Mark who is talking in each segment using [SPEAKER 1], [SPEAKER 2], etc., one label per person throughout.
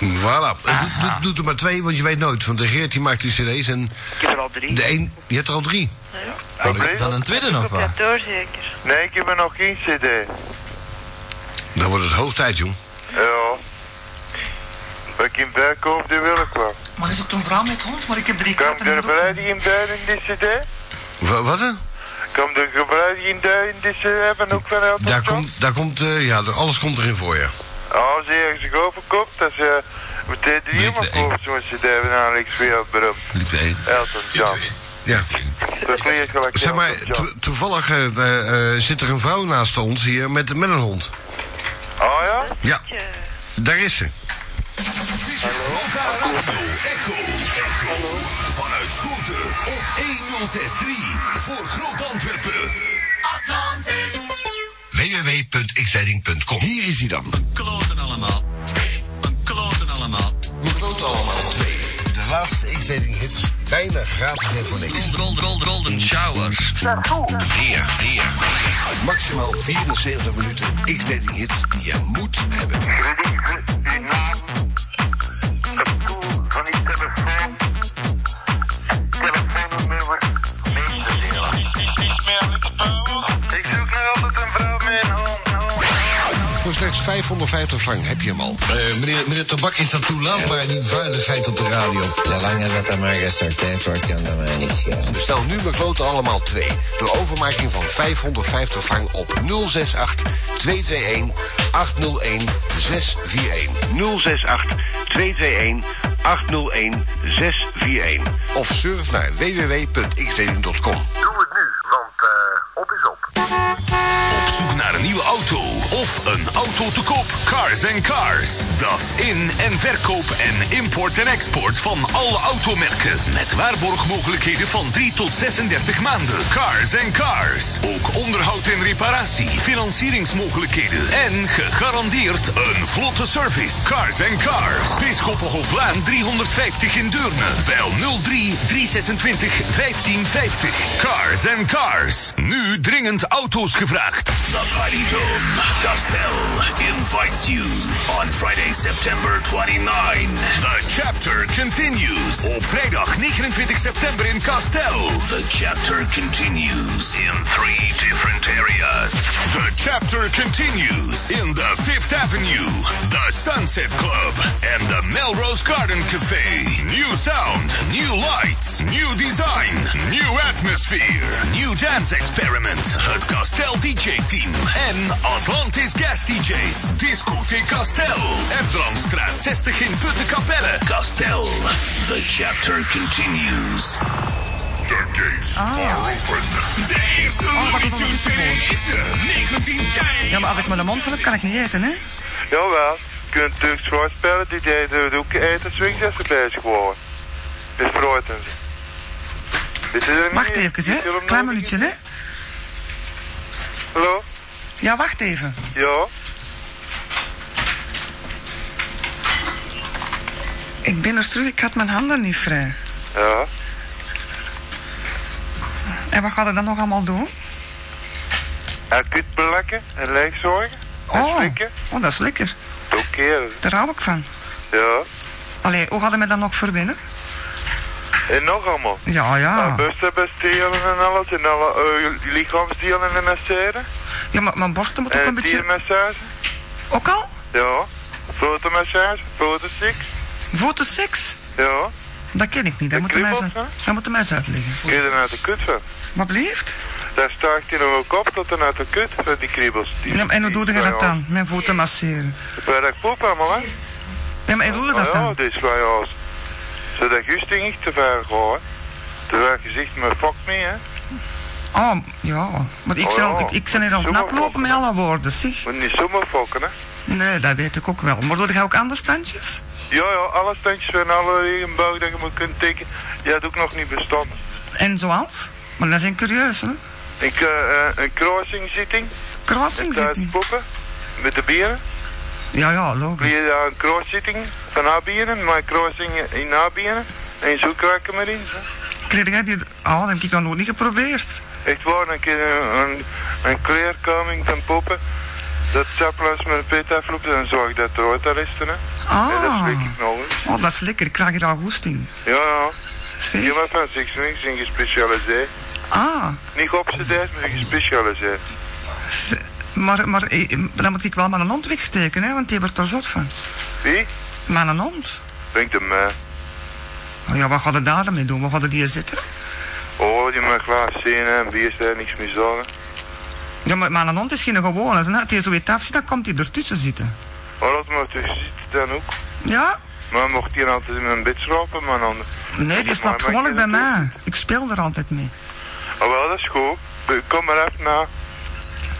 [SPEAKER 1] Voilà. Doe, doe, doe er maar twee, want je weet nooit. Want de Geert die maakt die cd's en
[SPEAKER 2] Ik heb er al drie.
[SPEAKER 1] de een... Je hebt er al drie.
[SPEAKER 2] Ja.
[SPEAKER 3] Oké.
[SPEAKER 4] Dan een tweede nog
[SPEAKER 2] Op
[SPEAKER 4] wel.
[SPEAKER 2] dat door zeker.
[SPEAKER 3] Nee, ik heb er nog geen cd.
[SPEAKER 1] Dan wordt het hoog tijd, jong.
[SPEAKER 3] Ja. Maar ik in Berken of de Wilkwa.
[SPEAKER 5] Maar is ook een vrouw met hond, maar ik heb drie
[SPEAKER 3] Kan
[SPEAKER 5] katten.
[SPEAKER 3] de
[SPEAKER 5] en een
[SPEAKER 3] gebruik in duiden in deze cd?
[SPEAKER 1] Wa- wat, hè?
[SPEAKER 3] Kan de gebruik in duiden in deze cd van ook van Elton
[SPEAKER 1] Daar
[SPEAKER 3] John?
[SPEAKER 1] komt, daar komt eh, ja, er- alles komt erin voor je.
[SPEAKER 3] Oh, Als je ergens overkoopt, dat is eh, meteen de
[SPEAKER 1] Drie
[SPEAKER 3] jongen
[SPEAKER 1] voor één.
[SPEAKER 3] koopt zo'n cd van Alex Weerbrug. Elton John.
[SPEAKER 1] Ja.
[SPEAKER 3] Dat klinkt gelijk
[SPEAKER 1] Zeg maar,
[SPEAKER 3] Elton John.
[SPEAKER 1] to- toevallig eh, eh, eh, zit er een vrouw naast ons hier met, met een hond.
[SPEAKER 3] Oh ja?
[SPEAKER 1] Ja,
[SPEAKER 2] Tje.
[SPEAKER 1] daar is ze.
[SPEAKER 6] Vanuit Schoten op 1063 voor Groot Antwerpen.
[SPEAKER 1] www.xleiding.com
[SPEAKER 6] Hier is hij dan.
[SPEAKER 4] Kloten allemaal. Een kloten allemaal.
[SPEAKER 1] Klopt allemaal. De laatste X-Leiding hits. Bijna gratis en voor niks.
[SPEAKER 4] Rol, rol, rol, de showers.
[SPEAKER 1] Hier, hier. Maximaal 74 minuten X-Leiding hits die je moet hebben.
[SPEAKER 3] Ik zoek nog altijd een vrouw met een hond.
[SPEAKER 1] Voor slechts 550 frank heb je hem al. Eh, meneer, meneer Tabak, is dat toelaatbaar? Die vuiligheid op de radio.
[SPEAKER 7] Zolang dat er maar gesorteerd wordt, kan dat mij niet schelen.
[SPEAKER 1] Bestel nu McLoten allemaal 2. Door overmaking van 550 frank op 068 221 801 641. 068 221 801 641. Of surf naar www.xdeling.com.
[SPEAKER 6] Op zoek naar een nieuwe auto of een auto te koop. Cars and Cars. Dat is in- en verkoop en import en export van alle automerken. Met waarborgmogelijkheden van 3 tot 36 maanden. Cars and Cars. Ook onderhoud en reparatie, financieringsmogelijkheden en gegarandeerd een vlotte service. Cars and Cars. Bisschoppenhoflaan 350 in Deurne. Bel 03 326 1550. Cars and Cars. Nu dringend auto's gevraagd.
[SPEAKER 8] The Party Dome Gospel invites you on Friday, September 29.
[SPEAKER 6] The chapter continues op vrijdag 29 september in Castel.
[SPEAKER 8] The chapter continues in three different areas.
[SPEAKER 6] The chapter continues in the Fifth Avenue, the Sunset Club, and the Melrose Garden Cafe. New sound, new lights, new design, new atmosphere, new dance experiments. Het Castel DJ Team en Atlantis Guest DJs. Discotheek Castel, Ebdramstraat 60 in Puttenkapelle.
[SPEAKER 8] Gospel, the chapter continues. The gates are open.
[SPEAKER 5] Oh, wat is dat voor Ja, maar als ik met een mond heb, kan ik niet eten, hè?
[SPEAKER 3] Jawel, je kunt natuurlijk zwaarspellen, die deden ook eten, dus swings als ze bezig waren. Met fruiten. Dit is er
[SPEAKER 5] Wacht
[SPEAKER 3] niet.
[SPEAKER 5] even,
[SPEAKER 3] Die zullen
[SPEAKER 5] hè?
[SPEAKER 3] hem
[SPEAKER 5] Klein
[SPEAKER 3] nog-
[SPEAKER 5] minuutje, hè?
[SPEAKER 3] Hallo?
[SPEAKER 5] Ja, wacht even.
[SPEAKER 3] Ja?
[SPEAKER 5] Ik ben er terug, ik had mijn handen niet vrij.
[SPEAKER 3] Ja.
[SPEAKER 5] En wat gaat er dan nog allemaal doen?
[SPEAKER 3] En kunt belakken en leegzorgen. En
[SPEAKER 5] Oh,
[SPEAKER 3] slikken.
[SPEAKER 5] oh dat is lekker.
[SPEAKER 3] Doe keren.
[SPEAKER 5] Daar hou ik van.
[SPEAKER 3] Ja.
[SPEAKER 5] Allee, hoe gaat er mij dan nog verbinden?
[SPEAKER 3] En nog allemaal.
[SPEAKER 5] Ja,
[SPEAKER 3] Ah.
[SPEAKER 5] ja.
[SPEAKER 3] Busten, bestelen en alles. En alle eh, lichaamsdelen en masseren.
[SPEAKER 5] Ja, maar mijn borsten moeten ook een
[SPEAKER 3] En
[SPEAKER 5] beetje...
[SPEAKER 3] diermassage.
[SPEAKER 5] Ook al?
[SPEAKER 3] Ja. Fotomassage, fotoseks.
[SPEAKER 5] Voeten seks?
[SPEAKER 3] Ja.
[SPEAKER 5] Dat ken ik niet,
[SPEAKER 3] De
[SPEAKER 5] dat moet de mij
[SPEAKER 3] kriebels,
[SPEAKER 5] eens- dat moet de mij eens uitleggen.
[SPEAKER 3] Kun je er uit de kut van?
[SPEAKER 5] Wat blijft?
[SPEAKER 3] Daar staat hij nog ook op tot en uit de kut van die kriebels. Die,
[SPEAKER 5] Ja, en hoe doe je
[SPEAKER 3] die-
[SPEAKER 5] dat dan? Mijn voeten masseren.
[SPEAKER 3] Bij dat poep allemaal, hè?
[SPEAKER 5] Ja, maar en hoe doe je
[SPEAKER 3] Ah,
[SPEAKER 5] dat
[SPEAKER 3] ja,
[SPEAKER 5] dan?
[SPEAKER 3] dit is waar je als. Zodat je ding niet te ver gaat. Terwijl je zegt, maar fuck me, hè?
[SPEAKER 5] Oh, ja. Want ik
[SPEAKER 3] Oh,
[SPEAKER 5] zal,
[SPEAKER 3] ja.
[SPEAKER 5] ik, ik zal hier aan het
[SPEAKER 3] Zomaar
[SPEAKER 5] naplopen met alle woorden, zeg.
[SPEAKER 3] Moet niet zomaar fokken, hè?
[SPEAKER 5] Nee, dat weet ik ook wel. Maar doe je ook andere standjes?
[SPEAKER 3] Ja, ja, alle standjes van alle regenboog dat je moet kunt tikken, die had ook nog niet bestond.
[SPEAKER 5] En zoals? Maar dat zijn curieus, hè?
[SPEAKER 3] Ik, eh, eh, een crossingzitting,
[SPEAKER 5] Crossing
[SPEAKER 3] uit
[SPEAKER 5] zitten.
[SPEAKER 3] poppen, met de bieren.
[SPEAKER 5] Ja, ja,
[SPEAKER 3] Kun
[SPEAKER 5] logisch.
[SPEAKER 3] je daar een crosszitting van haar bieren, maar crossing in haar bieren. En zo krijg ik maar in, hè?
[SPEAKER 5] Kreeg jij die... Oh, dat heb ik dan nog niet geprobeerd.
[SPEAKER 3] Echt waar, een keer een, een, een kleerkoming van poppen. Dat chaplas met een petafloep, dan zorg dat de hotelisten, hè. En dat
[SPEAKER 5] Ah,
[SPEAKER 3] spreek ik nog eens.
[SPEAKER 5] oh, dat is lekker. Ik krijg er al goesting.
[SPEAKER 3] Ja, ja.
[SPEAKER 5] Zeg.
[SPEAKER 3] Je bent van seks niks in gespecialiseerd.
[SPEAKER 5] Ah,
[SPEAKER 3] Niet geobsedeerd, maar gespecialiseerd.
[SPEAKER 5] maar, maar eh, dan moet ik wel mijn hond wegsteken, hè, want die wordt er zot van.
[SPEAKER 3] Wie? eh,
[SPEAKER 5] Mijn hond?
[SPEAKER 3] Denk de man.
[SPEAKER 5] Oh ja, wat gaat het daar dan mee doen? Wat gaat het hier zitten?
[SPEAKER 3] Oh, die mag laat zien, hè. Bier is daar niks meer zorgen.
[SPEAKER 5] Ja, maar mijn hond is geen gewone. hè. Als hij zo weer tafel zit, dan komt hij ertussen zitten.
[SPEAKER 3] Maar dat mag toch zitten dan ook.
[SPEAKER 5] Ja?
[SPEAKER 3] Maar mocht hij altijd in mijn bed slapen, man. dan-
[SPEAKER 5] Nee, die
[SPEAKER 3] Maar
[SPEAKER 5] slaapt
[SPEAKER 3] mag je
[SPEAKER 5] gewoon bij
[SPEAKER 3] dat doen?
[SPEAKER 5] mij. Ik speel er altijd mee.
[SPEAKER 3] Oh, wel, dat is goed. Kom maar even na.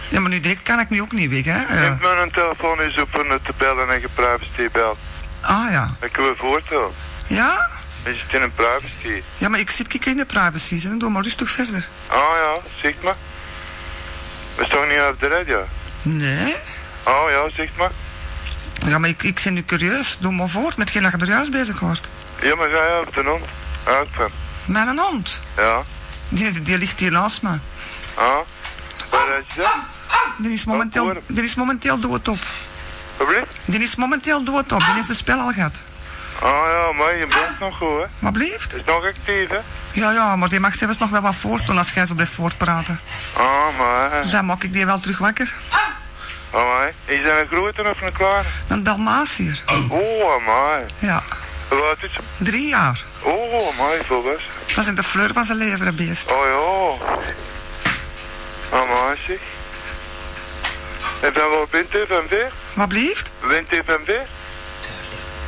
[SPEAKER 5] Ja, maar nu direct kan ik nu ook niet weg, hè? Eh, Ja.
[SPEAKER 3] Neem mijn telefoon eens op om te bellen en je privacy belt.
[SPEAKER 5] Ah ja.
[SPEAKER 3] Dan kunnen we voortgaan.
[SPEAKER 5] Ja?
[SPEAKER 3] Je zit in een privacy.
[SPEAKER 5] Ja, maar ik zit kijk in de privacy, hè. doe maar rustig verder.
[SPEAKER 3] Oh ja, zeg maar. We staan niet op de radio.
[SPEAKER 5] Nee?
[SPEAKER 3] Oh ja, zeg maar.
[SPEAKER 5] Ja, maar ik, ik ben nu curieus. Doe maar voort met geen dat je er juist bezig wordt.
[SPEAKER 3] Ja, maar ga je op de hond? Uit van.
[SPEAKER 5] Mijn hond,
[SPEAKER 3] Ja.
[SPEAKER 5] die, die ligt hier naast me.
[SPEAKER 3] Ah. Waar is dat?
[SPEAKER 5] Die is momenteel,
[SPEAKER 3] Wat voor?
[SPEAKER 5] die is momenteel dood op.
[SPEAKER 3] Wat blijft?
[SPEAKER 5] Die is momenteel dood op, die heeft het spel al gehad.
[SPEAKER 3] Oh ja, maar je bent nog goed, hè.
[SPEAKER 5] Maar blijft?
[SPEAKER 3] Is nog actief, hè.
[SPEAKER 5] Ja, ja, maar die mag zelfs nog wel wat voortdoen als jij zo blijft voortpraten.
[SPEAKER 3] Oh, maar.
[SPEAKER 5] Dus dan maak ik die wel terug wakker.
[SPEAKER 3] Oh, maar. Is dat een grote of een kleine?
[SPEAKER 5] Een Dalmatier.
[SPEAKER 3] Oh, maar.
[SPEAKER 5] Ja,
[SPEAKER 3] Wat is het?
[SPEAKER 5] drie jaar.
[SPEAKER 3] Oh, maar, volwassen.
[SPEAKER 5] Dat is in de fleur van zijn leven, dat beest.
[SPEAKER 3] Oh ja. Amai zeg. En van waar bent u van weer?
[SPEAKER 5] Wat blijft?
[SPEAKER 3] Bent u van weer?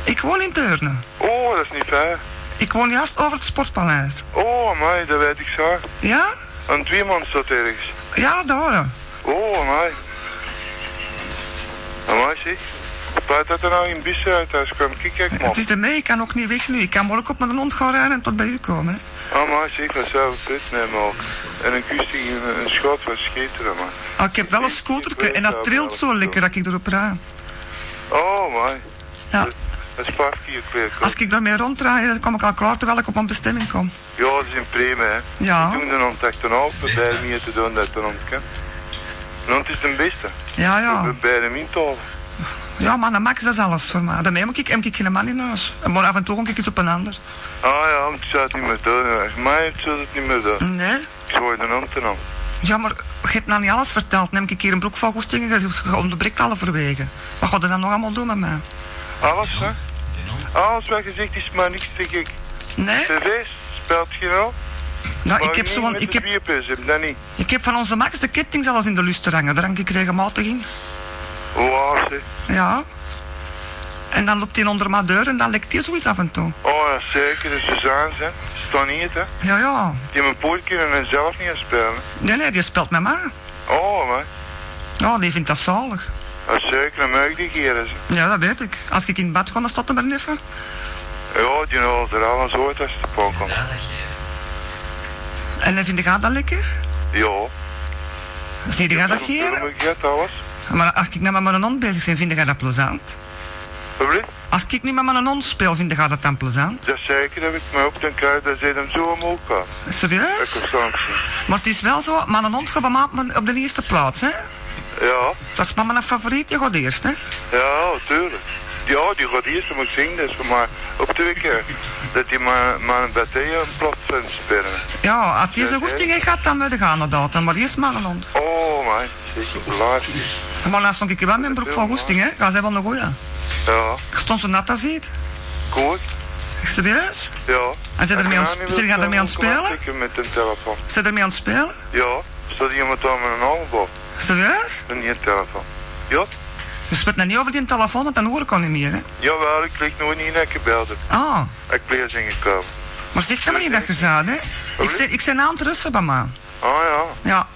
[SPEAKER 5] Ik woon in Deurne.
[SPEAKER 3] Oh, dat is niet fair.
[SPEAKER 5] Ik woon juist over het sportpaleis.
[SPEAKER 3] Oh, amai, dat weet ik zo.
[SPEAKER 5] Ja?
[SPEAKER 3] Een tweemand staat ergens.
[SPEAKER 5] Ja, daar.
[SPEAKER 3] Oh, amai. Amai zeg. Blijft dat er nou in Bissen uit huis kwam? Kijk, kijk man.
[SPEAKER 5] Het is ermee, ik kan ook niet weg nu. Ik kan morgen op mijn hond gaan rijden en tot bij u komen. hè.
[SPEAKER 3] Amai zeg, dat zou ik het nemen ook. En een kusting in een schot van schiteren, man.
[SPEAKER 5] Ah, ik heb wel een scooterke en dat trilt zo lekker dat ik erop rijd.
[SPEAKER 3] Oh, amai.
[SPEAKER 5] Ja,
[SPEAKER 3] Dat- Dat is vijf keer kwijt.
[SPEAKER 5] als ik daarmee ronddraai, dan kom ik al klaar terwijl ik op mijn bestemming kom.
[SPEAKER 3] Ja, dat is een premie, hè.
[SPEAKER 5] Ja,
[SPEAKER 3] Toen de hond echt een open, bij meer te doen dat de hond kan. De hond is de beste.
[SPEAKER 5] ja, ja.
[SPEAKER 3] Bij de mintal.
[SPEAKER 5] Ja, man, dat max dat is alles voor mij. Daarmee moet ik, heb ik geen man in huis. Maar af en toe kom ik iets op een ander.
[SPEAKER 3] Ah ja, want ik zou het niet meer doen. Echt, mij ik zou het niet meer
[SPEAKER 5] Hm.
[SPEAKER 3] doen.
[SPEAKER 5] Nee?
[SPEAKER 3] Ik gooi de hond dan.
[SPEAKER 5] Ja, maar je hebt nou niet alles verteld. Neem ik hier een broek van goestingen en je je onderbreekt alle verwegen. Wat gaat er dan nog allemaal doen met mij?
[SPEAKER 3] Alles, hè? Alles wat gezegd is, maar niks denk ik.
[SPEAKER 5] Nee?
[SPEAKER 3] TV speelt geen rol.
[SPEAKER 5] Nou,
[SPEAKER 3] Maar
[SPEAKER 5] ik heb
[SPEAKER 3] niet
[SPEAKER 5] zo'n...
[SPEAKER 3] met
[SPEAKER 5] Ik
[SPEAKER 3] de
[SPEAKER 5] heb,
[SPEAKER 3] bierpus, heb dat niet.
[SPEAKER 5] ik heb van onze max de ketting zelfs in de lust te hangen. Daar hang ik regelmatig in.
[SPEAKER 3] Wow, zeg.
[SPEAKER 5] Ja. En dan loopt hij onder mijn deur en dan lekt hij zoiets af en toe.
[SPEAKER 3] Oh, ja, zeker. De Suzanne, hè. Staan niet, hè.
[SPEAKER 5] Ja, ja.
[SPEAKER 3] Die mijn poort kunnen zelf niet aan spelen.
[SPEAKER 5] Nee, nee, die speelt met mij.
[SPEAKER 3] Oh, man.
[SPEAKER 5] Ja, die vindt dat zalig.
[SPEAKER 3] Ja, zeker. Dan mag ik die keren, ze.
[SPEAKER 5] Ja, dat weet ik. Als ik in bad ga, dan staat hij maar even.
[SPEAKER 3] Ja, die hoort er alles hoort als het te pakken komt.
[SPEAKER 5] En dan vind ik haar dat lekker.
[SPEAKER 3] Ja.
[SPEAKER 5] Vind jij dat
[SPEAKER 3] Waarom
[SPEAKER 5] hier?
[SPEAKER 3] Ik heb alles.
[SPEAKER 5] Maar als ik nou met mijn hond bezig ben, vind jij dat plezant?
[SPEAKER 3] Publiek?
[SPEAKER 5] Als ik niet met mijn hond speel, vind jij dat dan plezant?
[SPEAKER 3] Dat zeker heb ik me op den kruid, dat zit hem zo omhoog gaan. Dat
[SPEAKER 5] Serieus?
[SPEAKER 3] kan soms niet.
[SPEAKER 5] Maar het is wel zo, mijn hond gaat bij mij op mijn- op de eerste plaats, hè?
[SPEAKER 3] Ja,
[SPEAKER 5] Dat is maar mijn favoriet, die gaat eerst, hè?
[SPEAKER 3] ja, tuurlijk. Ja, die gaat eerst om ik zingen, dat is voor mij op twee keer. Dat die maar, maar een batterij een platform spelen.
[SPEAKER 5] Ja, als die
[SPEAKER 3] Ja,
[SPEAKER 5] zo
[SPEAKER 3] oké.
[SPEAKER 5] goed tegen gaat, dan moet ik gaan naar dat. Maar eerst mijn hond.
[SPEAKER 3] Oh, man, zeker belangrijk.
[SPEAKER 5] Maar dan stond ik wel mijn broek van goesting, hè. Ga zij wel een goeie.
[SPEAKER 3] Ja,
[SPEAKER 5] Ik stond zo nat als dit.
[SPEAKER 3] goed.
[SPEAKER 5] Serieus?
[SPEAKER 3] Ja.
[SPEAKER 5] En zit er mee aan-
[SPEAKER 3] Als je nou niet
[SPEAKER 5] zit je
[SPEAKER 3] wilt,
[SPEAKER 5] ermee aan
[SPEAKER 3] dan
[SPEAKER 5] het
[SPEAKER 3] kom ik
[SPEAKER 5] spelen?
[SPEAKER 3] stiekem met een telefoon.
[SPEAKER 5] Zit ermee aan het spelen?
[SPEAKER 3] Ja, staat iemand aan met een armband,
[SPEAKER 5] Serieus?
[SPEAKER 3] en niet een telefoon. Ja,
[SPEAKER 5] Dus het nou niet over die telefoon, want dan hoor ik al niet meer, hè.
[SPEAKER 3] jawel, ik lig nooit niet in een gebeld.
[SPEAKER 5] Ah,
[SPEAKER 3] Ik ben zingen komen.
[SPEAKER 5] maar zeg je me niet dat je zei, hè. Ik zit, ik zit aan het rusten bij mij.
[SPEAKER 3] Oh ja,
[SPEAKER 5] Ja.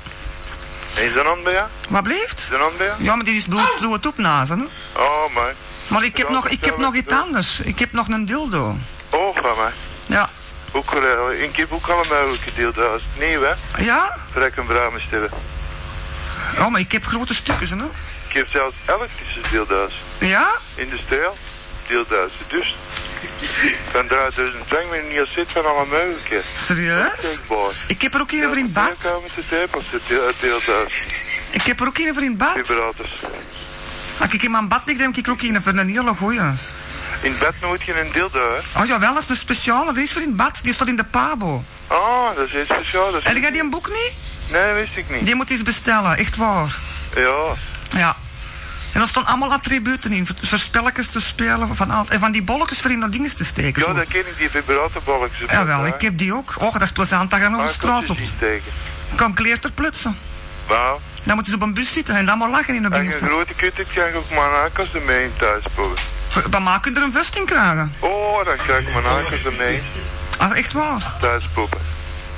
[SPEAKER 3] en is dat aan bij jou?
[SPEAKER 5] Wat blijft?
[SPEAKER 3] Is dat aan bij jou?
[SPEAKER 5] Ja, maar die is bloed, doe het opnazen, hè.
[SPEAKER 3] Oh, man.
[SPEAKER 5] Maar ik heb nog, ik heb nog iets anders. Ik heb nog een dildo.
[SPEAKER 3] Oh, van mij.
[SPEAKER 5] Ja.
[SPEAKER 3] Ook, eh, ik heb ook allemaal gedeeld als het nieuw, hè.
[SPEAKER 5] Ja?
[SPEAKER 3] Vrek en bramen stellen.
[SPEAKER 5] Oh, maar ik heb grote stukken, hè.
[SPEAKER 3] Ik heb zelfs elektrische deelduis.
[SPEAKER 5] Ja?
[SPEAKER 3] Industrieel deelduis. Dus van 3000 frank ben je niet als zit van alle mogelijkheden.
[SPEAKER 5] Serieus?
[SPEAKER 3] Denkbaar.
[SPEAKER 5] Ik heb er ook een voor in het
[SPEAKER 3] Daar
[SPEAKER 5] bad.
[SPEAKER 3] komen te tapen als het deelduis.
[SPEAKER 5] Ik heb er ook een voor in het bad.
[SPEAKER 3] Vibrators.
[SPEAKER 5] Maar ik in mijn bad lig, denk ik ook in. Ik vind een hele goeie.
[SPEAKER 3] In bed nooit geen dildo, hè?
[SPEAKER 5] Oh jawel, dat is een speciale. Die is voor in het bad. Die staat in de pabo.
[SPEAKER 3] Ah, dat is heel speciaal. Dat is...
[SPEAKER 5] En jij die een boek niet?
[SPEAKER 3] Nee, wist ik niet.
[SPEAKER 5] Die moet eens bestellen. Echt waar.
[SPEAKER 3] Ja.
[SPEAKER 5] Ja. En daar staan allemaal attributen in. Voor voor spelletjes te spelen. Van al, en van die bolletjes voor in dat ding te steken.
[SPEAKER 3] Ja,
[SPEAKER 5] zo.
[SPEAKER 3] dat ken ik, die vibratorbalkjes. op
[SPEAKER 5] Jawel,
[SPEAKER 3] elkaar.
[SPEAKER 5] ik heb die ook. Och, dat is plezant. Dan gaan we
[SPEAKER 3] Maar
[SPEAKER 5] over de straat
[SPEAKER 3] ik kon
[SPEAKER 5] op.
[SPEAKER 3] ze niet steken.
[SPEAKER 5] Kan kleerter plutsen.
[SPEAKER 3] Nou,
[SPEAKER 5] Dan moet je op een bus zitten en dan maar lachen in een
[SPEAKER 3] als je een
[SPEAKER 5] binnenstad.
[SPEAKER 3] grote kut hebt, krijg ik ook mijn hakels ermee in thuis, broer.
[SPEAKER 5] Dan maak je er een vest in krijgen.
[SPEAKER 3] Oh, dan krijg ik mijn hakels ermee
[SPEAKER 5] Ah, echt waar.
[SPEAKER 3] thuis, poepen.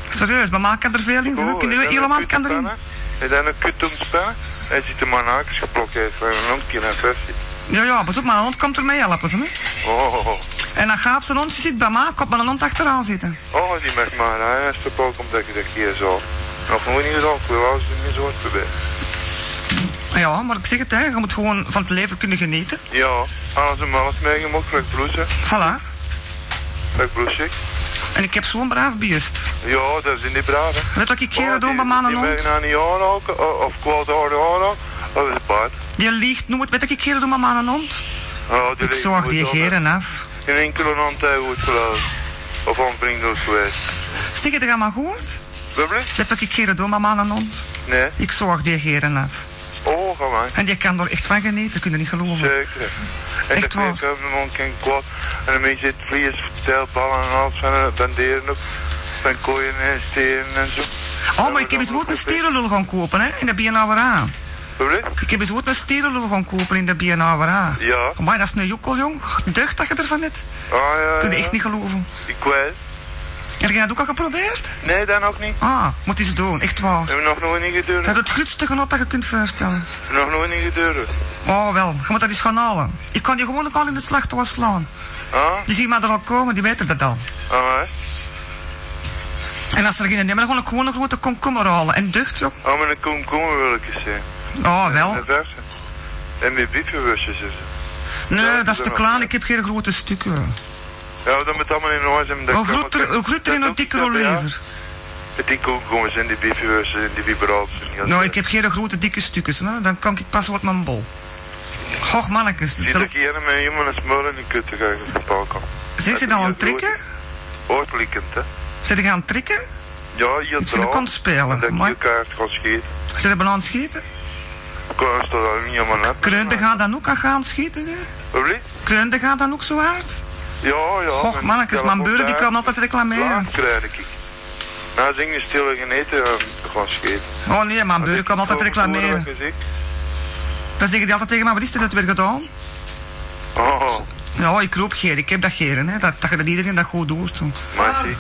[SPEAKER 5] Serieus, we maken er veel in.
[SPEAKER 3] Oh,
[SPEAKER 5] Zo
[SPEAKER 3] en dan
[SPEAKER 5] in heel-
[SPEAKER 3] een
[SPEAKER 5] helemaal
[SPEAKER 3] kut
[SPEAKER 5] kan
[SPEAKER 3] op
[SPEAKER 5] erin.
[SPEAKER 3] pannen. En dan een kut om spannen. En zit er mijn hakels geblokkeerd van een hondje en een vestje.
[SPEAKER 5] Ja, ja, pas op, mijn hond komt ermee helpen. Hè?
[SPEAKER 3] Oh, oh, oh.
[SPEAKER 5] En dan gaat zijn hond, ze zit bij mij, komt mijn hond achteraan zitten.
[SPEAKER 3] oh, die mag maar aan. Hij is te pak omdat ik dat hier zo. Nog nooit niet zo, ik wil alles in mijn soort proberen.
[SPEAKER 5] Ja, maar ik zeg het, hè, je moet gewoon van het leven kunnen genieten.
[SPEAKER 3] Ja, alles om alles meegemaakt, gelijk bloesje,
[SPEAKER 5] Voilà.
[SPEAKER 3] gelijk bloesje.
[SPEAKER 5] En ik heb zo'n braaf beest.
[SPEAKER 3] Ja, dat is in die braden.
[SPEAKER 5] Weet wat ik hier doe bij mijn
[SPEAKER 3] Oh, Die
[SPEAKER 5] hond?
[SPEAKER 3] merken aan die oren ook, o- of kwaad harde oren ook. Dat is het paard.
[SPEAKER 5] Die liegt nooit. Weet wat ik hier doe bij mijn hond?
[SPEAKER 3] Oh, die
[SPEAKER 5] Ik
[SPEAKER 3] ligt
[SPEAKER 5] zorg
[SPEAKER 3] goed
[SPEAKER 5] die
[SPEAKER 3] onder.
[SPEAKER 5] geren af.
[SPEAKER 3] Geen enkele hand heeft goed geloofd. Of onvriendelijk geweest.
[SPEAKER 5] Zeg je, dat gaat maar goed?
[SPEAKER 3] Bubbly?
[SPEAKER 5] Weet wat ik hier doe bij mijn hond?
[SPEAKER 3] Nee.
[SPEAKER 5] Ik zorg die geren af.
[SPEAKER 3] Oh, ga maar.
[SPEAKER 5] En die kan er echt van genieten, kunnen niet geloven.
[SPEAKER 3] Zeker. En
[SPEAKER 5] Echt
[SPEAKER 3] dat
[SPEAKER 5] waar?
[SPEAKER 3] ik heb mijn mond geen kwaad. En dan zit vlies, vertelballen en alles van eh, banderen op. Van kooien en steren en zo.
[SPEAKER 5] Oh, maar ik heb eens goed een stierenlul gaan kopen, hè, in de BNA.
[SPEAKER 3] Bubbly?
[SPEAKER 5] Ik heb eens goed een stierenlul gaan kopen in de BNA.
[SPEAKER 3] Ja.
[SPEAKER 5] Maar dat is een jukkel, jong. Deugd dat je ervan hebt.
[SPEAKER 3] Ah, ja,
[SPEAKER 5] Kun je
[SPEAKER 3] ja.
[SPEAKER 5] echt niet geloven.
[SPEAKER 3] Ik weet.
[SPEAKER 5] Heb jij dat ook al geprobeerd?
[SPEAKER 3] Nee, dan ook niet.
[SPEAKER 5] Ah, moet eens doen, echt waar.
[SPEAKER 3] Heb je nog nooit niet
[SPEAKER 5] Dat is
[SPEAKER 3] gedurfd?
[SPEAKER 5] het grootste genot dat je kunt voorstellen.
[SPEAKER 3] Nog nooit niet gedurfd.
[SPEAKER 5] Oh wel, je moet dat eens gaan halen. Ik kan die gewoon ook al in de slachtoffer slaan.
[SPEAKER 3] Ah?
[SPEAKER 5] Die zien maar er al komen, die weten dat al.
[SPEAKER 3] Ah, hè?
[SPEAKER 5] En als er geen nemen, dan ga ik gewoon een grote komkommer halen. En deugd, jong.
[SPEAKER 3] Oh, maar een komkommer wil ik eens zien.
[SPEAKER 5] Oh wel.
[SPEAKER 3] En versen. En met biefbewustjes en zo.
[SPEAKER 5] Nee, dat is te klein, ik heb geen grote stukken.
[SPEAKER 3] Ja, dan moet allemaal in huis hebben. dat
[SPEAKER 5] Hoe
[SPEAKER 3] kan,
[SPEAKER 5] groter,
[SPEAKER 3] maar dat-
[SPEAKER 5] hoe groter en
[SPEAKER 3] dat
[SPEAKER 5] hoe dikker
[SPEAKER 3] doe
[SPEAKER 5] hoe
[SPEAKER 3] ik wel, ja.
[SPEAKER 5] liever.
[SPEAKER 3] Met die komkommers en die biefbewustjes en die vibraties. en die-
[SPEAKER 5] Nou, ik heb geen grote dikke stukjes, hè. dan kan ik pas wat mijn bol. Och mannetjes,
[SPEAKER 3] Zit
[SPEAKER 5] tel-
[SPEAKER 3] ik hier met een jongen een smul in de kut te krijgen op de balkon.
[SPEAKER 5] zit je nou aan het trekken?
[SPEAKER 3] Oortlikkend, hè?
[SPEAKER 5] Zit je aan het trekken?
[SPEAKER 3] Ja, hier
[SPEAKER 5] Ik zit
[SPEAKER 3] draait.
[SPEAKER 5] ook aan het spelen,
[SPEAKER 3] Dat ik
[SPEAKER 5] maar-
[SPEAKER 3] je kaart kan schieten.
[SPEAKER 5] Zit je aan het schieten?
[SPEAKER 3] Ik kan het daar niet helemaal net.
[SPEAKER 5] Kreunde gaat dan ook aan gaan schieten, hè?
[SPEAKER 3] Sorry?
[SPEAKER 5] Kreunde gaat dan ook zo hard?
[SPEAKER 3] Ja, ja.
[SPEAKER 5] Och mannetjes, mijn buren die komen altijd reclameren.
[SPEAKER 3] Laat krijg ik. Nou, zing je stille geneten en gaan schieten.
[SPEAKER 5] Oh nee, mijn buren
[SPEAKER 3] ik
[SPEAKER 5] komen altijd reclameren. Dan zeggen die altijd tegen mij, wat is er dat weer gedaan?
[SPEAKER 3] Oh,
[SPEAKER 5] Ja, ik roep geer, ik heb dat geren, hè. Dat, dat je dat iedereen dat goed doet. zo.
[SPEAKER 3] maar zie.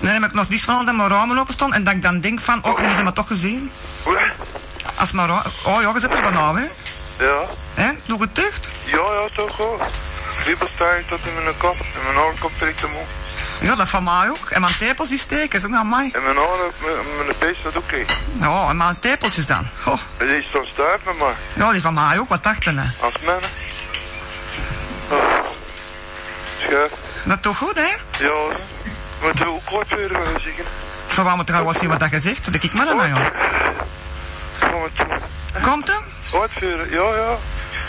[SPEAKER 5] Nee, dan heb ik nog niets van dat mijn ramen open staan en dat ik dan denk van, oh, nu zijn we toch gezien. Als mijn ra- Oh ja, je zit er vanaf, hè?
[SPEAKER 3] Ja.
[SPEAKER 5] Hè? Doe het tucht?
[SPEAKER 3] Ja, ja, toch hoor. Kriebelstein tot in mijn kop. En mijn oor komt direct omhoog.
[SPEAKER 5] Ja, dat van mij ook. En mijn tepels die steken, zeg nou mij.
[SPEAKER 3] En mijn oor, mijn, mijn pees staat ook in.
[SPEAKER 5] Ja, en mijn tepeltjes dan. Oh. Goh.
[SPEAKER 3] En die staat staart met mij.
[SPEAKER 5] Ja, die van mij ook, wat dachten hè.
[SPEAKER 3] Als men. Oh. Schuif.
[SPEAKER 5] Dat toch goed, hè?
[SPEAKER 3] Ja hoor. Maar het is ook kort weer wel eens ik.
[SPEAKER 5] Zo, waar moet er wat zien wat dat gezegd? Dat ik maar dan, joh.
[SPEAKER 3] Kom maar toe.
[SPEAKER 5] Komt hem?
[SPEAKER 3] Kort weer, ja, ja.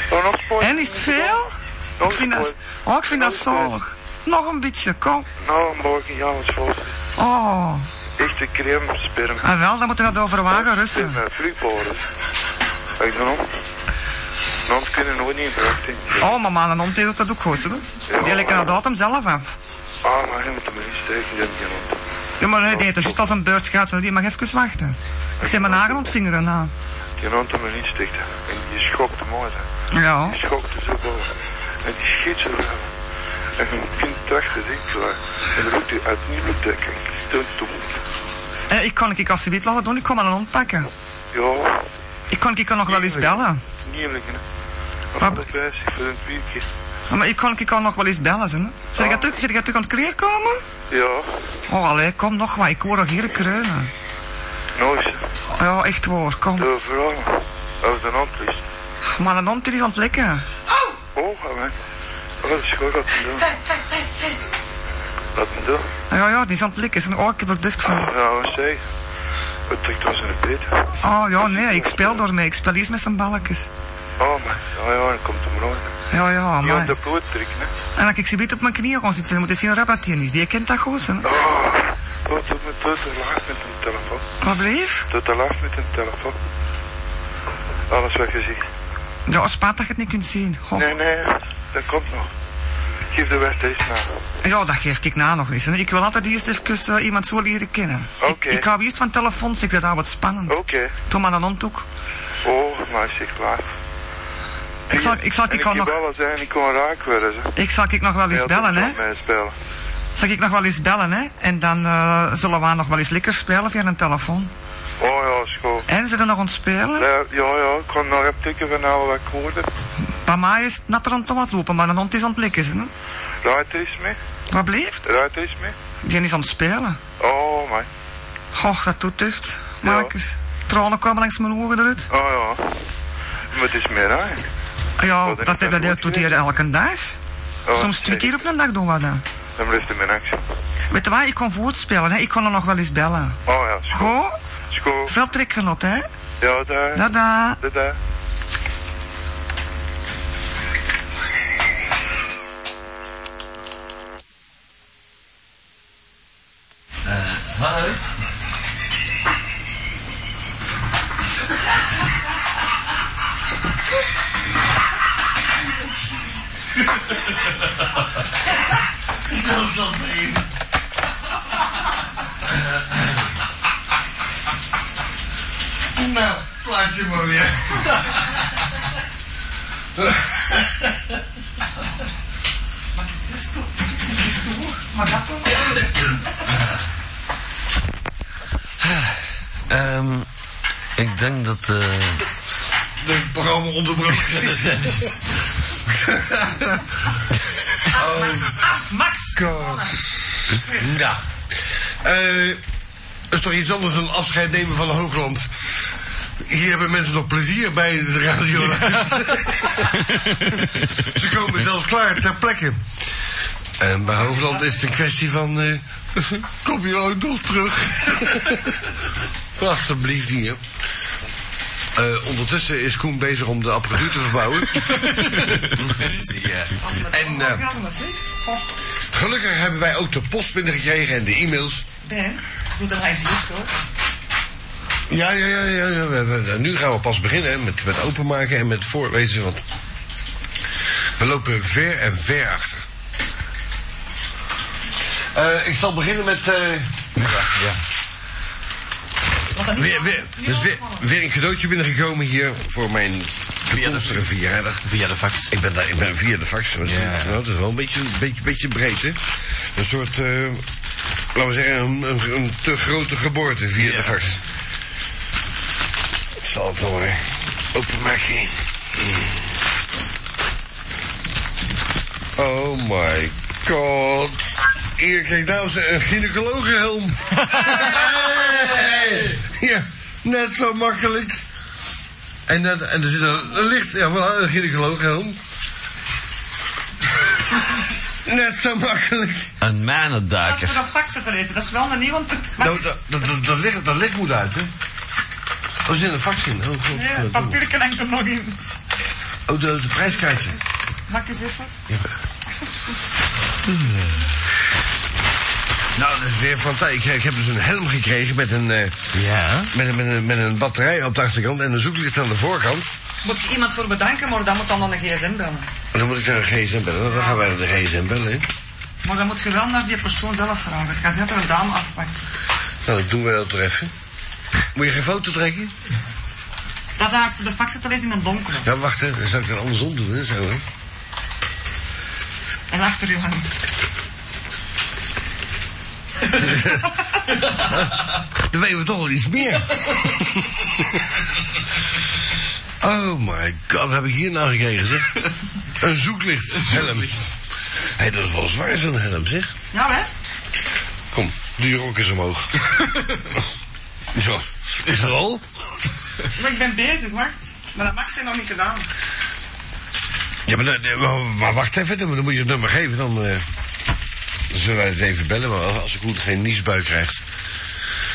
[SPEAKER 3] Dan nog sport.
[SPEAKER 5] En is het veel?
[SPEAKER 3] Nog
[SPEAKER 5] Ik vind dat,
[SPEAKER 3] sport.
[SPEAKER 5] oh, ik vind dat zalig. Nog een beetje, kom.
[SPEAKER 3] Nou, morgen ja, wat vol.
[SPEAKER 5] Oh,
[SPEAKER 3] Echte crème, sperm.
[SPEAKER 5] en wel, dan moet je dat overwagen, Russen.
[SPEAKER 3] Sperm, vliegboren. Ik doe nog. Anders kunnen we nooit niet in verwachting.
[SPEAKER 5] Oh, mama, dan hond die doet dat ook goed, hè? Die lekker dat datum zelf af.
[SPEAKER 3] Ah, maar je moet hem niet steken, denk je nog.
[SPEAKER 5] Ja, maar nee, nee, dat is juist als een beurt gaat, hè. die mag even wachten. Ik zet mijn nagel ontvingeren, nou.
[SPEAKER 3] Die hand hem niet steekt. En die schokt hem uit. hè.
[SPEAKER 5] Ja.
[SPEAKER 3] Die schokt er zo boven. En die schiet zo wel. En een kind tracht het ik klaar. En dan roept hij uit nieuwe bedekking. Toen, toen.
[SPEAKER 5] Eh, ik kan ik als ze dit laten doen, ik kom aan een hond pakken.
[SPEAKER 3] Ja,
[SPEAKER 5] Ik kan ik kan nog wel eens bellen.
[SPEAKER 3] nieuwelijk.
[SPEAKER 5] Wat?
[SPEAKER 3] Een opwijzing voor een weekje.
[SPEAKER 5] Ja, Maar ik kan ik kan nog wel eens bellen, hè?
[SPEAKER 3] Oh.
[SPEAKER 5] Zit je terug, zit je terug aan het creëren komen?
[SPEAKER 3] Ja,
[SPEAKER 5] Oh, allee, kom nog maar, ik hoor nog hier kreunen.
[SPEAKER 3] nooit.
[SPEAKER 5] Ja, echt waar, kom.
[SPEAKER 3] De vrouw. Als de hand is.
[SPEAKER 5] Maar een hond die is aan het lekken.
[SPEAKER 3] Oh, man. Oh, dat is goed wat te doen. Wat te doen.
[SPEAKER 5] Ja, ja, die is aan het likken. Zeg, Oh, ik heb er ducht van.
[SPEAKER 3] Nou, wat zeg. Wat trekt ons in de pit?
[SPEAKER 5] Ah, Oh, ja, nee, ik speel daarmee. Ik speel iets met zijn balkjes.
[SPEAKER 3] Oh, maar, oh ja, dan komt hem rond.
[SPEAKER 5] Ja, ja,
[SPEAKER 3] Die op
[SPEAKER 5] maar.
[SPEAKER 3] de bloed drukken, hè.
[SPEAKER 5] En als ik ze beetje op mijn knieën ga zitten, dan moet je zien hoe rabat die is. Die kent dat goed, hè.
[SPEAKER 3] Oh, doe, doe, doe, doe te laag met een telefoon.
[SPEAKER 5] Wat bleef?
[SPEAKER 3] Doe te laag met een telefoon. Alles wat je ziet.
[SPEAKER 5] Ja, spaat dat je het niet kunt zien. Goh.
[SPEAKER 3] Nee, nee, dat komt nog. Geef de weg deze naam.
[SPEAKER 5] Ja, dat geef ik na nog eens. hè. Ik wil altijd eerst even eh, iemand zo leren kennen.
[SPEAKER 3] Oké. Oh.
[SPEAKER 5] Ik hou eerst van telefoons, ik vind dat wat spannend.
[SPEAKER 3] Oké.
[SPEAKER 5] Doe maar een hond ook.
[SPEAKER 3] Oh, maar zeg laat.
[SPEAKER 5] Ik zal, ik zal,
[SPEAKER 3] En
[SPEAKER 5] ik
[SPEAKER 3] ik
[SPEAKER 5] kan
[SPEAKER 3] kan
[SPEAKER 5] nog,
[SPEAKER 3] wel zijn, ik kon raak worden. Ze.
[SPEAKER 5] ik zal ik nog wel eens
[SPEAKER 3] Ja, dat
[SPEAKER 5] bellen,
[SPEAKER 3] kan
[SPEAKER 5] hè.
[SPEAKER 3] mij spelen.
[SPEAKER 5] Zal ik nog wel eens bellen, hè. En dan eh, zullen we nog wel eens lekker spelen via een telefoon.
[SPEAKER 3] Oh ja, schoon.
[SPEAKER 5] En ze er nog aan het spelen?
[SPEAKER 3] Ja, ja, ja, ik kan nog even tikken van alle akkoorden.
[SPEAKER 5] Bij mij is het natter om te laten lopen, maar een hond is aan het likken, hè.
[SPEAKER 3] Ruiter is mee,
[SPEAKER 5] Wat bleef?
[SPEAKER 3] ruiter is mee.
[SPEAKER 5] Die is aan het spelen.
[SPEAKER 3] Oh, man.
[SPEAKER 5] Goh, dat doet deugd. Marcus, tranen kwamen langs mijn ogen eruit.
[SPEAKER 3] Oh ja. Maar het is meer, hè?
[SPEAKER 5] Ja,
[SPEAKER 3] Oh, dat
[SPEAKER 5] dat,
[SPEAKER 3] is
[SPEAKER 5] dat,
[SPEAKER 3] wel
[SPEAKER 5] dat
[SPEAKER 3] goed
[SPEAKER 5] doet hij
[SPEAKER 3] geweest.
[SPEAKER 5] elke dag.
[SPEAKER 3] Oh,
[SPEAKER 5] Soms twee
[SPEAKER 3] zeg,
[SPEAKER 5] keer op een dag doen we dat.
[SPEAKER 3] Dan blijft hij mijn actie.
[SPEAKER 5] Weet je wat, ik kon voortspelen, hè. ik kon er nog wel eens bellen.
[SPEAKER 3] Oh ja, schoon.
[SPEAKER 5] Goh,
[SPEAKER 3] Schoon.
[SPEAKER 5] veel trekgenot, hè.
[SPEAKER 3] Ja, daar.
[SPEAKER 5] Dada.
[SPEAKER 3] Da, da.
[SPEAKER 4] Hallo?
[SPEAKER 1] Nou, plaat je maar weer.
[SPEAKER 4] Ehm, ik denk dat... eh
[SPEAKER 1] De programma onderbroken.
[SPEAKER 5] Max!
[SPEAKER 1] God. Nou. Eh, dat is toch iets anders dan afscheid nemen van Hoogland. Hier hebben mensen nog plezier bij de radio. Ze komen zelfs klaar ter plekke. En bij Hoogland is het een kwestie van... eh, kom je ooit nog terug? Alsjeblieft niet, hè. Eh, ondertussen is Koen bezig om de apparatuur te verbouwen. En eh, gelukkig hebben wij ook de post binnengekregen en de e-mails.
[SPEAKER 5] Ben, doe dat hij niet hoor.
[SPEAKER 1] Ja, ja, ja, ja. ja. we- we- nu gaan we pas beginnen hè, met, met openmaken en met voorlezen, want we lopen ver en ver achter. Eh, ik zal beginnen met. eh, ja, ja. Weer, weer, dus weer, weer een cadeautje binnengekomen hier voor mijn toekomstige verjaardag. Via de fax. Ik ben, daar, ik ben via de fax. Dat is, nou, dat is wel een beetje, een beetje, beetje breed, hè? Een soort, eh, laten we zeggen, een, een, een te grote geboorte via de fax. Ik zal het horen. Openmaken. Oh my god. Hier, kijk nou eens, een gynaecologenhelm. Ja, net zo makkelijk. En, dat, en er zit een, een licht, ja, wel een gynaecologenhelm. Net zo makkelijk.
[SPEAKER 4] Een
[SPEAKER 5] Als we
[SPEAKER 4] manenduiker.
[SPEAKER 5] dat fax zitten lezen, dat is wel een nieuw, want het- Max,
[SPEAKER 1] Nou, Dat, dat, dat, dat, dat licht, dat licht moet uit, hè? Oh, er zit een fax in. Oh, god.
[SPEAKER 5] ja, het papier kan enkel nog in.
[SPEAKER 1] Oh, de, de prijskaartje.
[SPEAKER 5] Max eens even.
[SPEAKER 1] Nou, dat is weer fantastisch. Ik, ik heb dus een helm gekregen met een, eh,
[SPEAKER 4] Ja?
[SPEAKER 1] met, een, met, een, met een batterij op de achterkant en een zoeklicht aan de voorkant.
[SPEAKER 5] Moet ik iemand voor bedanken, maar dan moet dan dan een gsm bellen.
[SPEAKER 1] En dan moet ik naar de gsm bellen. Dan gaan wij naar de gsm bellen. hè.
[SPEAKER 5] Maar dan moet je wel naar die persoon zelf vragen. Het gaat niet dat er een dame afpakt.
[SPEAKER 1] Nou, dat doen we dat toch even. Moet je geen foto trekken?
[SPEAKER 5] Dat is eigenlijk voor de fax zitten lezen in een donkere.
[SPEAKER 1] Ja, Nou, wacht, hè. dan zou ik dat andersom doen. Hè, zo, hè.
[SPEAKER 5] En achter u aan.
[SPEAKER 1] Dan weten we toch al iets meer. oh my god, wat heb ik hier nou gekregen, zeg? Een zoeklicht, helm. Hé, dat is wel zwaar, zo'n helm, zeg.
[SPEAKER 5] Ja, hè?
[SPEAKER 1] Kom, doe je rok eens omhoog. Zo, is dat al?
[SPEAKER 5] Maar ik ben bezig, wacht. Maar dat Max heeft nog niet gedaan.
[SPEAKER 1] Ja, maar, dan- maar- maar wacht even, dan dan moet je het nummer geven, dan... eh, Zullen wij het even bellen, maar als ik goed geen niesbui krijg.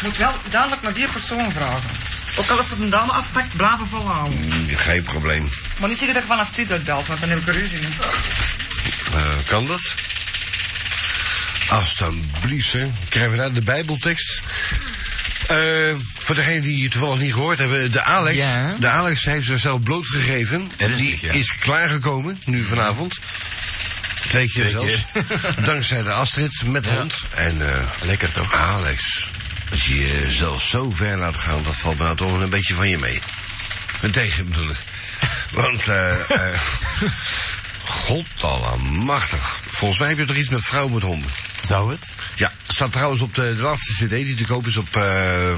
[SPEAKER 5] Moet wel duidelijk naar die persoon vragen. Ook al is het een dame afpakt, blijven volhouden.
[SPEAKER 1] Mm, Geen probleem.
[SPEAKER 5] Maar niet zeggen dat je van een stuut uitbelt, want dan heb ik er ruzie in.
[SPEAKER 1] Eh, kan dat? Alsjeblieft, hè. Krijgen we daar de Bijbeltekst? Eh, voor degenen die het toevallig niet gehoord hebben, de Alex,
[SPEAKER 4] Ja.
[SPEAKER 1] de Alex heeft zichzelf blootgegeven.
[SPEAKER 4] Ernstig,
[SPEAKER 1] die
[SPEAKER 4] ja.
[SPEAKER 1] is klaargekomen, nu vanavond. Twee keer zelfs. Dankzij de Astrid met de
[SPEAKER 4] Ja.
[SPEAKER 1] hond. En, Lekker toch? Alex, als je jezelf zo ver laat gaan, dat valt nou toch wel een beetje van je mee. Een tegen bedoel ik. Want, eh... eh Godallemachtig. Volgens mij heb je toch iets met vrouwen met honden.
[SPEAKER 4] Zou het?
[SPEAKER 1] Ja, staat trouwens op de, de laatste cd die te koop is op, eh,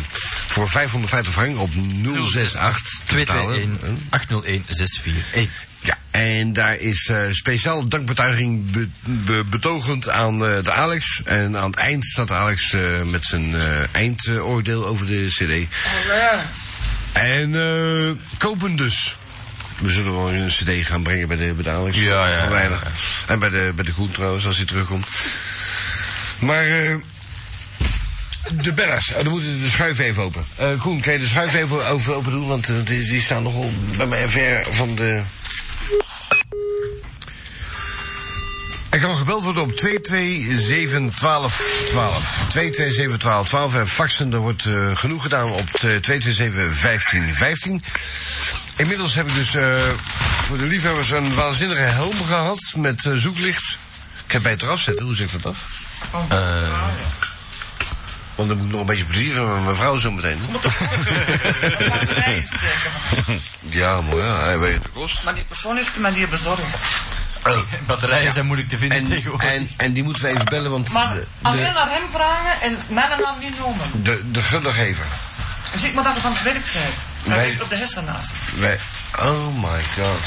[SPEAKER 1] voor 550 frank op 068. Betalen.
[SPEAKER 4] 221 801 641.
[SPEAKER 1] Ja, en daar is eh, speciaal dankbetuiging be- be- betogend aan eh, de Alex. En aan het eind staat Alex eh, met zijn eh, eindoordeel over de cd. En eh, kopen dus. We zullen wel een cd gaan brengen bij de, bij de Alex.
[SPEAKER 4] Ja, ja,
[SPEAKER 1] Van weinig.
[SPEAKER 4] ja,
[SPEAKER 1] En bij de, bij de Koen trouwens, als hij terugkomt. Maar... eh, de bellers, oh, dan moeten we de schuif even open. Eh, Koen, kan je de schuif even over, open doen? Want eh, die, die staan nogal bij mij ver van de... Er kan gebeld worden op 227-1212. 227-1212. En faxen, er wordt eh, genoeg gedaan op eh, 227-1515. Inmiddels heb ik dus eh, voor de liefhebbers een waanzinnige helm gehad met eh, zoeklicht. Ik heb bij het eraf zetten, hoe zeg ik dat af? Eh. Want dan moet ik nog een beetje plezier hebben met mijn vrouw zo meteen. ja, maar ja, hij weet de kost.
[SPEAKER 5] Maar die persoon heeft me die bezorgd.
[SPEAKER 4] Batterijen zijn moeilijk te vinden
[SPEAKER 1] En,
[SPEAKER 4] tegenwoordig.
[SPEAKER 1] en, en die moeten we even bellen, want
[SPEAKER 5] Maar
[SPEAKER 1] de,
[SPEAKER 5] alleen
[SPEAKER 1] de,
[SPEAKER 5] naar hem vragen en mannen naam niet noemen.
[SPEAKER 1] de, de gullegever.
[SPEAKER 5] En Zie Dus ik maar dat je van het werk bent. Dan
[SPEAKER 1] Nee.
[SPEAKER 5] zit op de hessen naast.
[SPEAKER 1] Wij, oh my god.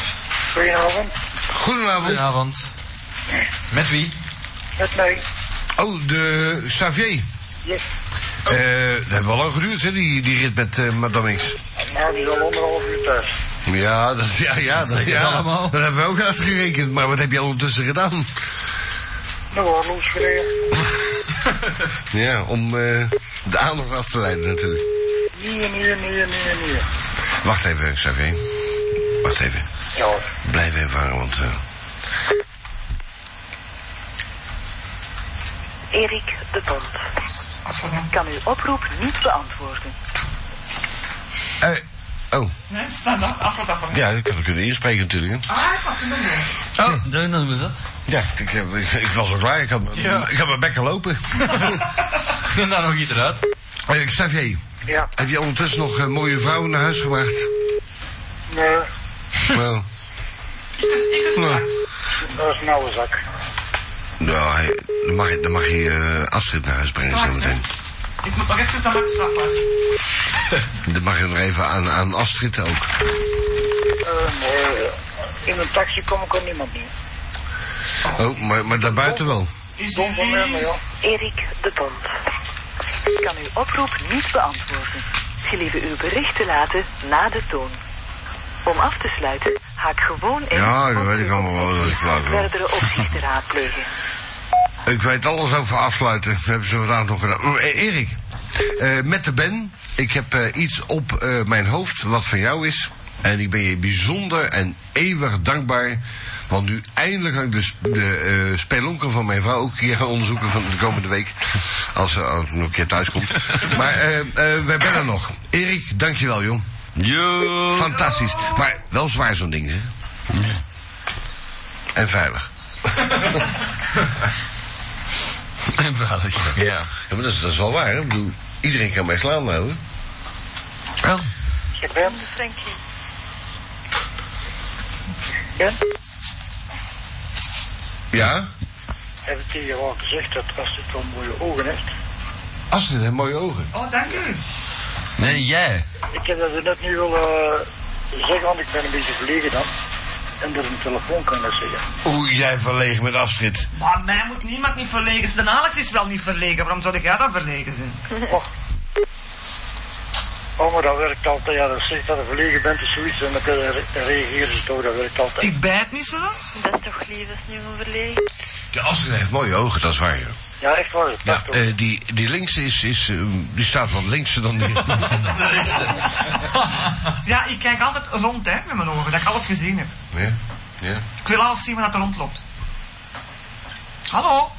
[SPEAKER 1] Goedenavond. Goedenavond.
[SPEAKER 4] Goedenavond. Met wie?
[SPEAKER 1] Oh, de Xavier.
[SPEAKER 9] Yes.
[SPEAKER 1] Eh, dat heeft wel lang geduurd, hè, die, die rit met eh, Madame X.
[SPEAKER 9] Nou, die is al anderhalf uur thuis.
[SPEAKER 1] Ja, dat, ja, ja, dat,
[SPEAKER 4] Zeker
[SPEAKER 1] ja,
[SPEAKER 4] allemaal.
[SPEAKER 1] dat hebben we ook uitgerekend. Maar wat heb je ondertussen gedaan?
[SPEAKER 9] Nou, hoor, Loes, weer.
[SPEAKER 1] Ja, om eh, de aandacht af te leiden natuurlijk.
[SPEAKER 9] Hier, hier, hier, hier, hier.
[SPEAKER 1] Wacht even, Xavier. Wacht even.
[SPEAKER 9] Ja, hoor.
[SPEAKER 1] Blijf even hangen, want... eh,
[SPEAKER 10] Erik de Bond. Kan uw oproep niet beantwoorden.
[SPEAKER 1] eh, oh,
[SPEAKER 5] Nee, sta dan. Af dat van.
[SPEAKER 1] ja, dat kunnen we kunnen inspreken natuurlijk. hè.
[SPEAKER 5] Ah, ik pak hem ook.
[SPEAKER 4] Oh, dan doen we dat.
[SPEAKER 1] Ja, ik, heb- ik, ik was al klaar. Ik had, m-
[SPEAKER 4] Ja.
[SPEAKER 1] ik had mijn bekken lopen.
[SPEAKER 4] En dan nog iets eruit.
[SPEAKER 1] Eh, Xavier,
[SPEAKER 9] Ja,
[SPEAKER 1] heb je ondertussen nog eh, mooie vrouwen naar huis gebracht?
[SPEAKER 9] nee,
[SPEAKER 1] Wel. Nou,
[SPEAKER 9] dat is een oude zak.
[SPEAKER 1] nou, hij- dan mag, je- dan mag je eh Astrid naar huis brengen
[SPEAKER 5] Straks,
[SPEAKER 1] zometeen.
[SPEAKER 5] Ik moet nog even de max afpassen.
[SPEAKER 1] Dan mag je nog even aan, aan Astrid ook.
[SPEAKER 9] Eh, nee, in een taxi kom ik er niemand meer.
[SPEAKER 1] Oh, maar, maar daarbuiten wel.
[SPEAKER 5] Is
[SPEAKER 9] Dom van mij, maar ja.
[SPEAKER 10] Erik de Bond. Kan uw oproep niet beantwoorden. Gelieve uw bericht te laten na de toon. Om af te sluiten, haak gewoon in
[SPEAKER 1] Ja, dat
[SPEAKER 10] op
[SPEAKER 1] weet
[SPEAKER 10] uw
[SPEAKER 1] ik allemaal wel. Dat is klaar, wel.
[SPEAKER 10] verdere opties te raadplegen.
[SPEAKER 1] Ik weet alles over afsluiten. Dat hebben ze vandaag nog gedaan. Oh, eh, Erik, eh, met de Ben. Ik heb eh, iets op eh, mijn hoofd wat van jou is. En ik ben je bijzonder en eeuwig dankbaar. Want nu eindelijk kan ik de, sp- de eh, spelonken van mijn vrouw ook een keer gaan onderzoeken van de komende week. Als ze als ze nog een keer thuis komt. Maar eh, eh, wij bellen nog. Erik, dankjewel jong.
[SPEAKER 6] Yo.
[SPEAKER 1] Fantastisch. Maar wel zwaar zo'n ding, hè? En veilig.
[SPEAKER 4] En veilig. Ja.
[SPEAKER 1] Ja, maar dat, is, dat is wel waar, hè? Ik bedoel, iedereen kan mij slaan nou, hè? Oh.
[SPEAKER 4] Wel,
[SPEAKER 9] Ik ben.
[SPEAKER 10] Frankie.
[SPEAKER 1] Ja?
[SPEAKER 9] Heb ik tegen jou al gezegd dat als dit wel mooie ogen heeft?
[SPEAKER 1] Astrid heeft mooie ogen.
[SPEAKER 5] Oh, dank u.
[SPEAKER 4] nee, jij.
[SPEAKER 9] Ik heb dat net niet willen eh, zeggen, want ik ben een beetje verlegen dan. En door een telefoon kan ik dat zeggen.
[SPEAKER 1] Oeh, jij verlegen met Astrid.
[SPEAKER 5] Maar mij moet niemand niet verlegen zijn. De Alex is wel niet verlegen. Waarom zou ik jij dan verlegen zijn?
[SPEAKER 9] Oh, maar dat werkt altijd. Ja, dat zegt dat je verlegen bent of zoiets. En dan kun je re- reageren ze toch, dat werkt altijd.
[SPEAKER 5] Ik bijt niet zo.
[SPEAKER 10] Dat is toch lief, dat is niet van verlegen.
[SPEAKER 1] De Assen heeft mooie ogen, dat is waar, joh.
[SPEAKER 9] Ja, echt waar. dat
[SPEAKER 1] Ja,
[SPEAKER 9] toch.
[SPEAKER 1] eh, die, die linkse is, is eh, die staat wat linkser dan die.
[SPEAKER 5] Ja, ik kijk altijd rond hè, met mijn ogen, dat ik alles gezien heb.
[SPEAKER 1] ja, ja.
[SPEAKER 5] Ik wil alles zien wat er rondloopt. Hallo?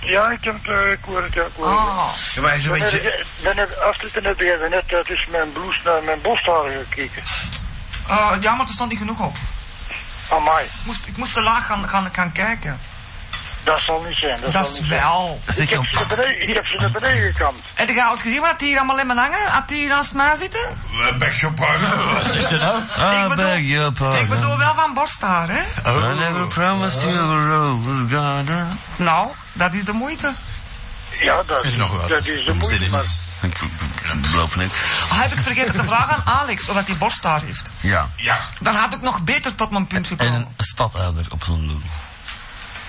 [SPEAKER 9] Ja, ik heb het, eh, ik hoor het, ja, ik hoor het.
[SPEAKER 5] Ah. Ja, maar hij is een
[SPEAKER 9] Dan heb
[SPEAKER 5] beetje-
[SPEAKER 9] ik- Dan heb, afsluit, dan heb jij net eh, tussen mijn blouse naar mijn borsthaar gekeken.
[SPEAKER 5] Eh, ja, maar er stond niet genoeg op.
[SPEAKER 9] Amai.
[SPEAKER 5] Moest, ik moest te laag gaan, gaan, gaan kijken.
[SPEAKER 9] Dat zal niet zijn, dat,
[SPEAKER 5] Dat
[SPEAKER 9] zal niet
[SPEAKER 5] wel.
[SPEAKER 9] zijn. Ik heb, ze naar beneden, ik heb ze naar beneden gekampt.
[SPEAKER 5] Heb je alles gezien wat hier allemaal in mijn hangen? Had die naast mij zitten?
[SPEAKER 1] Beg je pardon.
[SPEAKER 4] Wat is er nou?
[SPEAKER 5] Ik
[SPEAKER 4] Ah,
[SPEAKER 5] bedoel-
[SPEAKER 4] beg your pardon.
[SPEAKER 5] Ik bedoel wel van borsthaar, hè?
[SPEAKER 4] I never promised you a road was gonna...
[SPEAKER 5] Nou, dat is de moeite.
[SPEAKER 9] Ja, dat
[SPEAKER 4] is nog wel.
[SPEAKER 9] dat is de
[SPEAKER 4] moeite, Ik ik loop niks.
[SPEAKER 5] Ah, heb ik vergeten te vragen aan Alex of dat hij borsthaar heeft.
[SPEAKER 4] Ja.
[SPEAKER 1] Ja.
[SPEAKER 5] Dan had ik nog beter tot mijn punt gekomen.
[SPEAKER 4] En een stadouder op zo'n doel.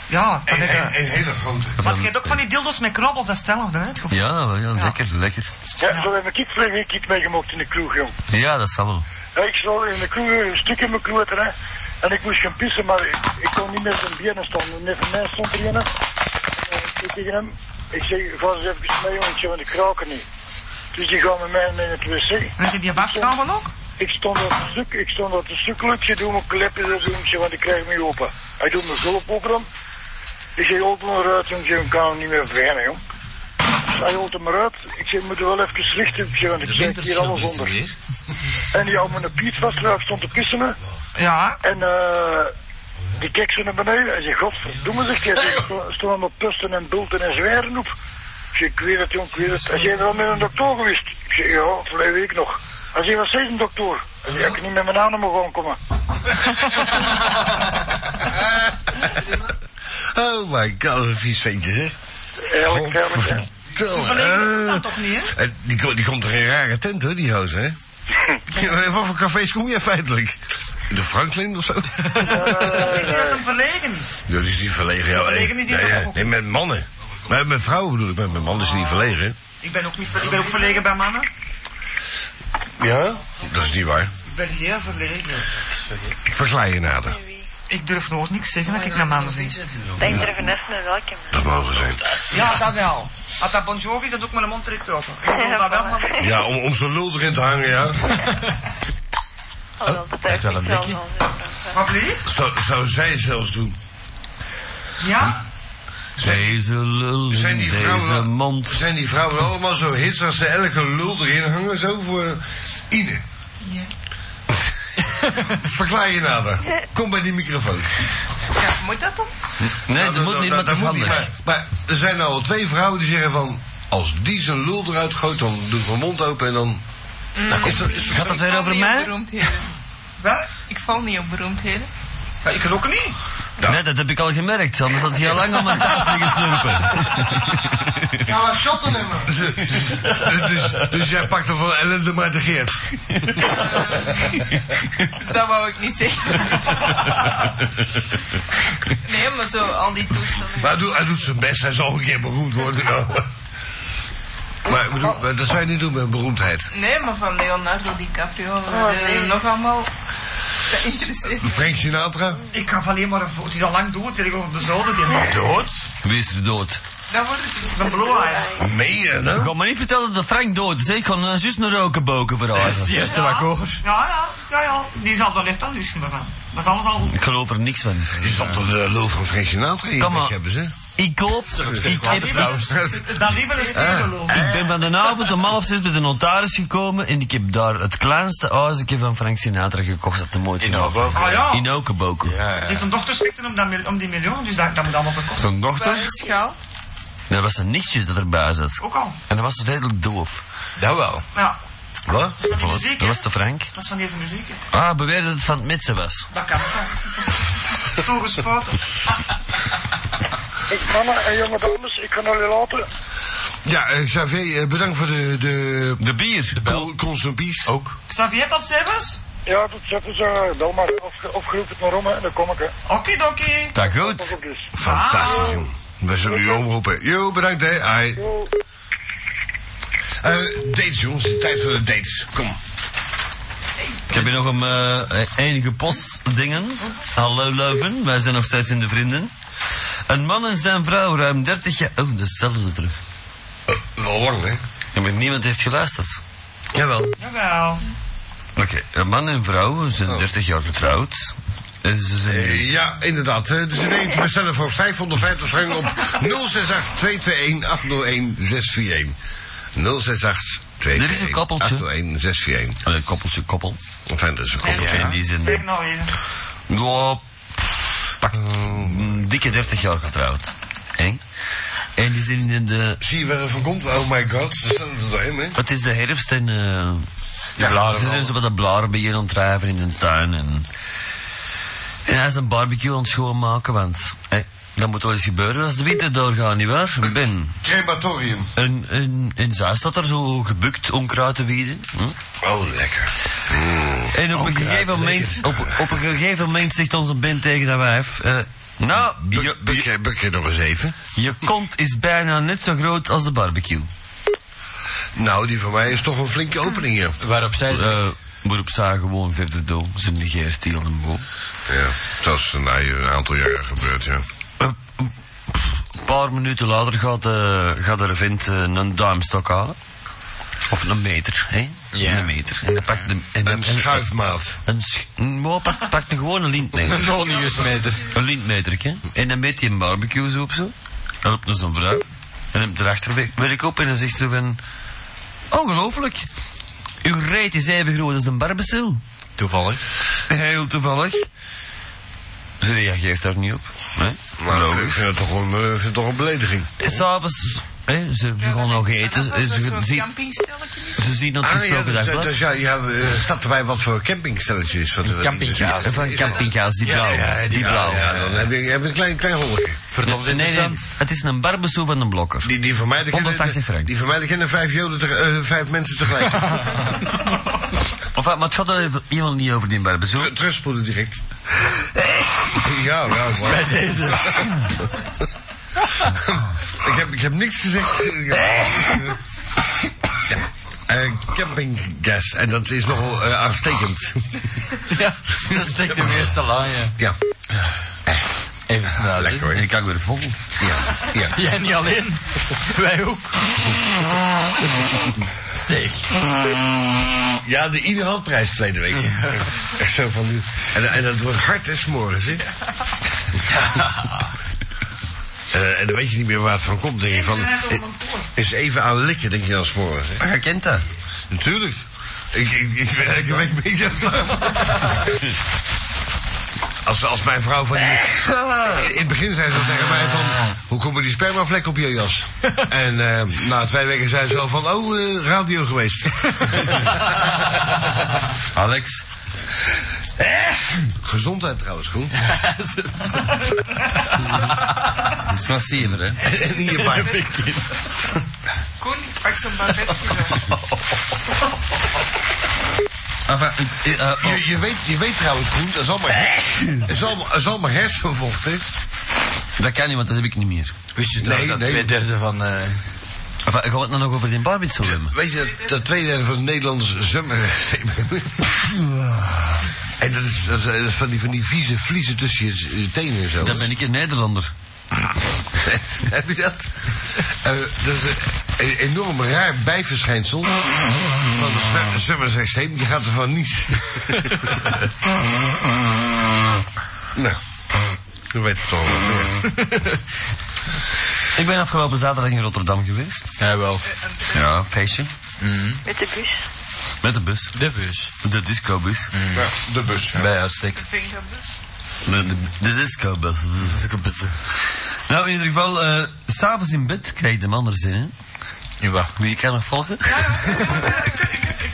[SPEAKER 5] Ja, dat ik... eh,
[SPEAKER 1] hele grote.
[SPEAKER 5] Want je hebt ook van die dildo's met knobbels, dat is hetzelfde, hè? het gevoel.
[SPEAKER 4] Ja, wel, ja, lekker, lekker.
[SPEAKER 9] Ja, zo heb ik iets vlug ik iets meegemaakt in de kroeg, jong.
[SPEAKER 4] Ja, dat zal wel.
[SPEAKER 9] Ja, ik zat in de kroeg, een stuk in mijn kloten, hè. En ik moest gaan pissen, maar ik, ik kon niet meer zijn benen staan. Net van mij stond er een. En, eh, Ik zei tegen hem, ik zeg, ga eens even mee, jongen, ik zeg, want ik raak er niet. Dus die gaan met mij mee naar het wc.
[SPEAKER 5] Heb je die waskabel ook?
[SPEAKER 9] Ik stond op een stuk, ik stond op een stuk, ik zeg, doe mijn klepje, dat doe ik, zeg, want ik krijg me open. Hij doet mijn hulp open, hem. Ik zeg, open eruit, jong, ik zeg, ik kan hem niet meer verwennen, jong. Dus hij holt hem eruit. Ik zeg, moet er wel even richten, ik zeg, want ik zeg hier alles onder. En die oude meneer Piet was er, stond te pissen. hè.
[SPEAKER 5] Ja.
[SPEAKER 9] En eh, die keek zo naar beneden en zei, godverdomme zegt hij, er sto- stonden op pusten en bulten en zweren op. Ik zeg, ik weet het jong, ik weet het. Hij zei, wel met een dokter geweest? Ik zeg, ja, verleden week nog. Hij zei, wat zei een dokter? Hij zei, ik kan niet met mijn adem gewoon komen.
[SPEAKER 1] Oh my god, wat een vies ventje, hè?
[SPEAKER 9] Eerlijk, eerlijk, hè.
[SPEAKER 1] Godverdomme.
[SPEAKER 5] toch niet,
[SPEAKER 1] Eh,
[SPEAKER 5] hè?
[SPEAKER 1] eh, die, ko- die komt er in een rare tent, hoor, die hoos, hè? Ja, Wat voor cafés kom je feitelijk? De Franklin of zo?
[SPEAKER 5] Ik denk dat hem verlegen is.
[SPEAKER 1] Dat is niet verlegen, ja.
[SPEAKER 5] Verlegen is hij
[SPEAKER 1] nee,
[SPEAKER 5] toch
[SPEAKER 1] eh,
[SPEAKER 5] ook?
[SPEAKER 1] nee, met mannen. Maar met vrouwen bedoel ik, maar met mannen is hij niet verlegen.
[SPEAKER 5] Ik ben ook, niet, ver- ik ben ook verlegen bij mannen.
[SPEAKER 1] Ja? Dat is niet waar.
[SPEAKER 5] Ik ben heel verlegen.
[SPEAKER 1] Ik verklaar je nader.
[SPEAKER 5] Ik durf nooit niks zeggen dat ik naar mannen zie.
[SPEAKER 11] Dat intervenest met welke?
[SPEAKER 1] Dat mogen zijn.
[SPEAKER 5] Ja, dat wel. Als dat Bon Jovi is, dan doe ik mijn mond direct open. Ik bedoel dat wel, maar...
[SPEAKER 1] Ja, om, om zijn lul erin te hangen, ja.
[SPEAKER 11] Alhoewel, dat
[SPEAKER 1] heeft wel een blikje.
[SPEAKER 5] Wat lief?
[SPEAKER 1] Zou, zou zij zelfs doen.
[SPEAKER 5] Ja?
[SPEAKER 4] Deze lul
[SPEAKER 1] Zijn
[SPEAKER 4] in
[SPEAKER 1] die vrouwen,
[SPEAKER 4] deze mond.
[SPEAKER 1] zijn die vrouwen allemaal zo hits als ze elke lul erin hangen? Zo voor Ine. Verklaar je nader. Kom bij die microfoon.
[SPEAKER 5] ja? Moet dat dan?
[SPEAKER 4] Nee, Nou, dat, moet niet, maar dat is
[SPEAKER 1] moet niet,
[SPEAKER 4] handig.
[SPEAKER 1] maar, maar er zijn nou al twee vrouwen die zeggen van... Als die zijn lul eruit gooit, dan doe ik mijn mond open en dan...
[SPEAKER 4] Nou, kom,
[SPEAKER 1] Mm. Is dat- is dat-
[SPEAKER 4] gaat dat weer over mij?
[SPEAKER 12] beroemdheden.
[SPEAKER 5] Wat?
[SPEAKER 12] Ik val niet op beroemdheden.
[SPEAKER 5] Ja, ik kan ook niet.
[SPEAKER 4] Nee, dat heb ik al gemerkt, anders had hij al lang om mijn taas liggen slurpen.
[SPEAKER 5] Ja, maar shotten hem.
[SPEAKER 1] dus, dus jij pakt er van ellende maar de geert.
[SPEAKER 12] Dat wou ik niet zeggen. Nee, maar zo, al die toestanden.
[SPEAKER 1] Maar hij doet, hij doet zijn best, hij zal een keer beroemd worden. ja. Maar ik bedoel, maar dat zou je niet doen met beroemdheid.
[SPEAKER 12] Nee, maar van Leonardo DiCaprio.
[SPEAKER 11] Oh,
[SPEAKER 12] eh,
[SPEAKER 11] nee.
[SPEAKER 12] Nog allemaal. Dat interesseert me.
[SPEAKER 1] Frank Sinatra?
[SPEAKER 5] Ik kan alleen maar... een vo- Het is al lang dood, weet ik over de zolder. Die man.
[SPEAKER 1] Dood?
[SPEAKER 4] Wie is er dood?
[SPEAKER 12] Dat wordt het niet.
[SPEAKER 5] Dat verloor hij.
[SPEAKER 1] Meen je
[SPEAKER 4] Ik
[SPEAKER 1] nou?
[SPEAKER 4] Ga me niet vertellen dat Frank dood is, hè. ik kan uh, juist een rokenboken verhalen. Dat is het eerste wat hoor.
[SPEAKER 5] Ja, ja, ja, ja. Die zal er echt aan lusten van. Dat is alles al goed.
[SPEAKER 4] Ik geloof er niks van.
[SPEAKER 1] Je zal toch de lul van Frank Sinatra in je
[SPEAKER 4] Kom
[SPEAKER 1] bek
[SPEAKER 4] maar.
[SPEAKER 1] hebben, ze?
[SPEAKER 4] Ik koop, ik heb
[SPEAKER 12] Eh,
[SPEAKER 5] Dat liever een stekeloof.
[SPEAKER 4] Ik ben van de avond om half zes bij de notaris gekomen en ik heb daar het kleinste huisje van Frank Sinatra gekocht dat de mooiste In
[SPEAKER 5] ja. Ah, ja.
[SPEAKER 4] In Okenboken.
[SPEAKER 5] Dus zijn dochter schikte om, dat mil- om die miljoen, dus dat, dat moet allemaal bekomen.
[SPEAKER 4] Zijn
[SPEAKER 12] Waar is schaal?
[SPEAKER 4] Er was een nichtje dat erbij zat.
[SPEAKER 5] Ook al.
[SPEAKER 4] En dat was redelijk doof. Dat wel.
[SPEAKER 5] Ja,
[SPEAKER 4] Wat?
[SPEAKER 5] muziek,
[SPEAKER 4] Dat was de Frank.
[SPEAKER 5] dat is van deze muziek. hè.
[SPEAKER 4] Ah, beweerde dat het van het mitsen was.
[SPEAKER 5] Dat kan ook. Toegespoten.
[SPEAKER 9] Ik kan er, eh, jongen, dames, ik kan jullie laten.
[SPEAKER 1] Ja, eh, Xavier, eh, bedankt voor de... De, de bier. De bel. Ook.
[SPEAKER 5] Xavier tot Sebus?
[SPEAKER 9] Ja, dat zetten ze. eh, Bel maar of, of groep het maar om hè, en dan kom ik. hè.
[SPEAKER 5] Okidoki.
[SPEAKER 4] Dat
[SPEAKER 9] Tot
[SPEAKER 4] goed.
[SPEAKER 9] op dus.
[SPEAKER 1] Fantastisch, jong. We zullen u omroepen. Jo, bedankt, hè. Ai.
[SPEAKER 9] Jo.
[SPEAKER 1] Eh, dates, jongens. Het is Tijd voor de dates. Kom.
[SPEAKER 4] Ik heb hier nog een eh, enige postdingen. Hallo Leuven, wij zijn nog steeds in de vrienden. Een man en zijn vrouw, ruim 30 jaar... Oh, dat is hetzelfde terug.
[SPEAKER 1] wel lang, hè?
[SPEAKER 4] Ja, maar niemand heeft geluisterd. Jawel.
[SPEAKER 12] Jawel.
[SPEAKER 4] Oké, een man en vrouw, ze zijn 30 jaar getrouwd. En ze zijn...
[SPEAKER 1] Eh, Ja, inderdaad. hè. Dus in één te bestellen voor 550 frank op 068-221-801-641. 068
[SPEAKER 4] Er is een koppeltje.
[SPEAKER 1] 801-641.
[SPEAKER 4] Een koppeltje, koppel.
[SPEAKER 1] Enfin, dat is een koppeltje.
[SPEAKER 4] in die zin.
[SPEAKER 12] Zeg nou even.
[SPEAKER 4] Ja, pff, pak mm, dikke 30 jaar getrouwd. Eng. En die zijn in de...
[SPEAKER 1] Zie je waar het van komt? Oh my god, daar staan ze doorheen, hè?
[SPEAKER 4] Het is de herfst en... eh
[SPEAKER 1] Ja,
[SPEAKER 4] ja, ze
[SPEAKER 1] wel.
[SPEAKER 4] zijn zo wat de blaren beginnen aan het drijven in de tuin en... En hij is een barbecue aan het schoonmaken, want... hè, dat moet wel eens gebeuren als de winter doorgaat, nietwaar? Ben.
[SPEAKER 1] Crematorium.
[SPEAKER 4] En, en, en zij staat daar zo gebukt om kruid te wieden. Hm?
[SPEAKER 1] Oh, lekker.
[SPEAKER 4] En op een, gegeven moment, op, op een gegeven moment zegt onze Ben tegen dat wijf... eh, nou, je,
[SPEAKER 1] Buk buk je nog eens even?
[SPEAKER 4] je kont is bijna net zo groot als de barbecue.
[SPEAKER 1] Nou, die van mij is toch een flinke opening hier.
[SPEAKER 4] Waarop zij... Eh, waarop zij gewoon verder door. Ze negeert die aan de boom.
[SPEAKER 1] Ja, dat is een, een aantal jaren gebeurd, ja.
[SPEAKER 4] Een paar minuten later gaat, eh gaat er een vent eh, een duimstok halen. Of een meter, hè?
[SPEAKER 13] Ja.
[SPEAKER 4] Een meter. En dan pakt de, en dan,
[SPEAKER 1] Een schuifmaat.
[SPEAKER 4] Een sch- maar pak, pak nu gewoon een lintmeter.
[SPEAKER 13] Een oniusmeter.
[SPEAKER 4] Een lintmeter, hè. En dan meet hij een barbecue zo op zo. Dan loopt er zo'n vrouw. En hem erachter werk- werk op en dan zegt ze van... Ongelooflijk. Uw reet is even groot als een barbecue.
[SPEAKER 13] Toevallig.
[SPEAKER 4] Heel toevallig. Ze reageert daar niet op. Hè?
[SPEAKER 1] Maar ik vind het toch een, eh, vind het toch een belediging.
[SPEAKER 4] En s'avonds... Hè, ze begon nog eten.
[SPEAKER 12] Dat is
[SPEAKER 4] Ze,
[SPEAKER 12] een
[SPEAKER 4] ze,
[SPEAKER 12] soort
[SPEAKER 4] zien-
[SPEAKER 12] campingstelletje.
[SPEAKER 4] ze zien dat
[SPEAKER 1] Ah, ja,
[SPEAKER 4] gesproken
[SPEAKER 1] dus,
[SPEAKER 4] dagblad.
[SPEAKER 1] dus ja, ja, eh, staat erbij wat voor campingstelletje is. Wat
[SPEAKER 13] Campingkaas.
[SPEAKER 4] Van campingkaas, die blauw. die blauw.
[SPEAKER 1] Ja, dan heb je, heb je een klein, klein holletje.
[SPEAKER 13] Verdomme,
[SPEAKER 4] Nee, nee,
[SPEAKER 13] interessant.
[SPEAKER 4] het is een barbecue van een blokker.
[SPEAKER 1] Die, die van mij, die
[SPEAKER 4] 180
[SPEAKER 1] kennen,
[SPEAKER 4] frank.
[SPEAKER 1] die van mij die kennen vijf, joden teg- eh, vijf mensen tegelijk.
[SPEAKER 4] Of, wat, maar het gaat er even- helemaal niet over die barbecue.
[SPEAKER 1] Tr- Terugspoelen direct. Ja, ja, waar.
[SPEAKER 4] Bij deze.
[SPEAKER 1] Ik heb, ik heb niks gezegd. Ja. Eh, campinggas, en dat is nogal eh, aanstekend.
[SPEAKER 13] Ja, dat steekt hem meestal aan, ja.
[SPEAKER 1] Ja,
[SPEAKER 13] Even snel. hè.
[SPEAKER 1] lekker hoor.
[SPEAKER 4] Ik kan weer vol.
[SPEAKER 1] Ja, ja.
[SPEAKER 13] Jij niet alleen. Wij ook. Zeg.
[SPEAKER 1] Ja, de ieder handprijs verleden week. Echt zo van nu. En, en dat wordt hard, hè, s'morgens, hè? Eh, en dan weet je niet meer waar het van komt, denk je. Van, eh, is even aan likken, denk je dan s'morgens, hè?
[SPEAKER 4] Maar jij kent dat.
[SPEAKER 1] Natuurlijk. Ik, ik, ik ben elke week een beetje... Als, als mijn vrouw van die... In het begin zei ze tegen mij van... Hoe komen die spermavlek op je jas? En eh, na twee weken zei ze al van... Oh, eh, radio geweest.
[SPEAKER 4] Alex.
[SPEAKER 1] Eh, Gezondheid trouwens, Groen.
[SPEAKER 4] Dat is massiever, hè?
[SPEAKER 1] En hierbij...
[SPEAKER 12] Koen, ik pak zo'n barbetje wel.
[SPEAKER 4] Enfin, eh, eh, eh,
[SPEAKER 1] Je, je, weet, je weet trouwens, Groen, dat is allemaal, dat is allemaal, dat is allemaal hersenvocht, hè?
[SPEAKER 4] dat kan niet, want dat heb ik niet meer.
[SPEAKER 13] Wist je
[SPEAKER 1] Nee,
[SPEAKER 13] trouwens dat
[SPEAKER 1] nee.
[SPEAKER 13] twee derde van... eh,
[SPEAKER 4] Enfin, ah, gaan we het dan nog over die barbecue hebben?
[SPEAKER 1] Weet je, dat, dat tweede derde van het Nederlands zwemmen. en dat is, dat is- dat is van, die, van die vieze vliezen tussen je, je tenen en zo.
[SPEAKER 4] Dan ben ik een Nederlander.
[SPEAKER 1] Heb je dat? Eh, dat is een, een enorm raar bijverschijnsel van het zwem- zwemmersysteem. Je gaat ervan niet. nou, je weet het toch. wel.
[SPEAKER 4] Ik ben afgelopen zaterdag in Rotterdam geweest.
[SPEAKER 13] Jawel.
[SPEAKER 4] Ja, feestje.
[SPEAKER 11] Met de bus.
[SPEAKER 4] Met de bus.
[SPEAKER 13] De bus.
[SPEAKER 4] De discobus.
[SPEAKER 1] Ja, de bus. ja.
[SPEAKER 13] Bij uitstek.
[SPEAKER 12] De vingerbus.
[SPEAKER 4] De, de, de discobus. Nou, in ieder geval, eh, s s'avonds in bed krijg je de andere zin, hè?
[SPEAKER 13] Nu wat?
[SPEAKER 4] Wie kan nog volgen?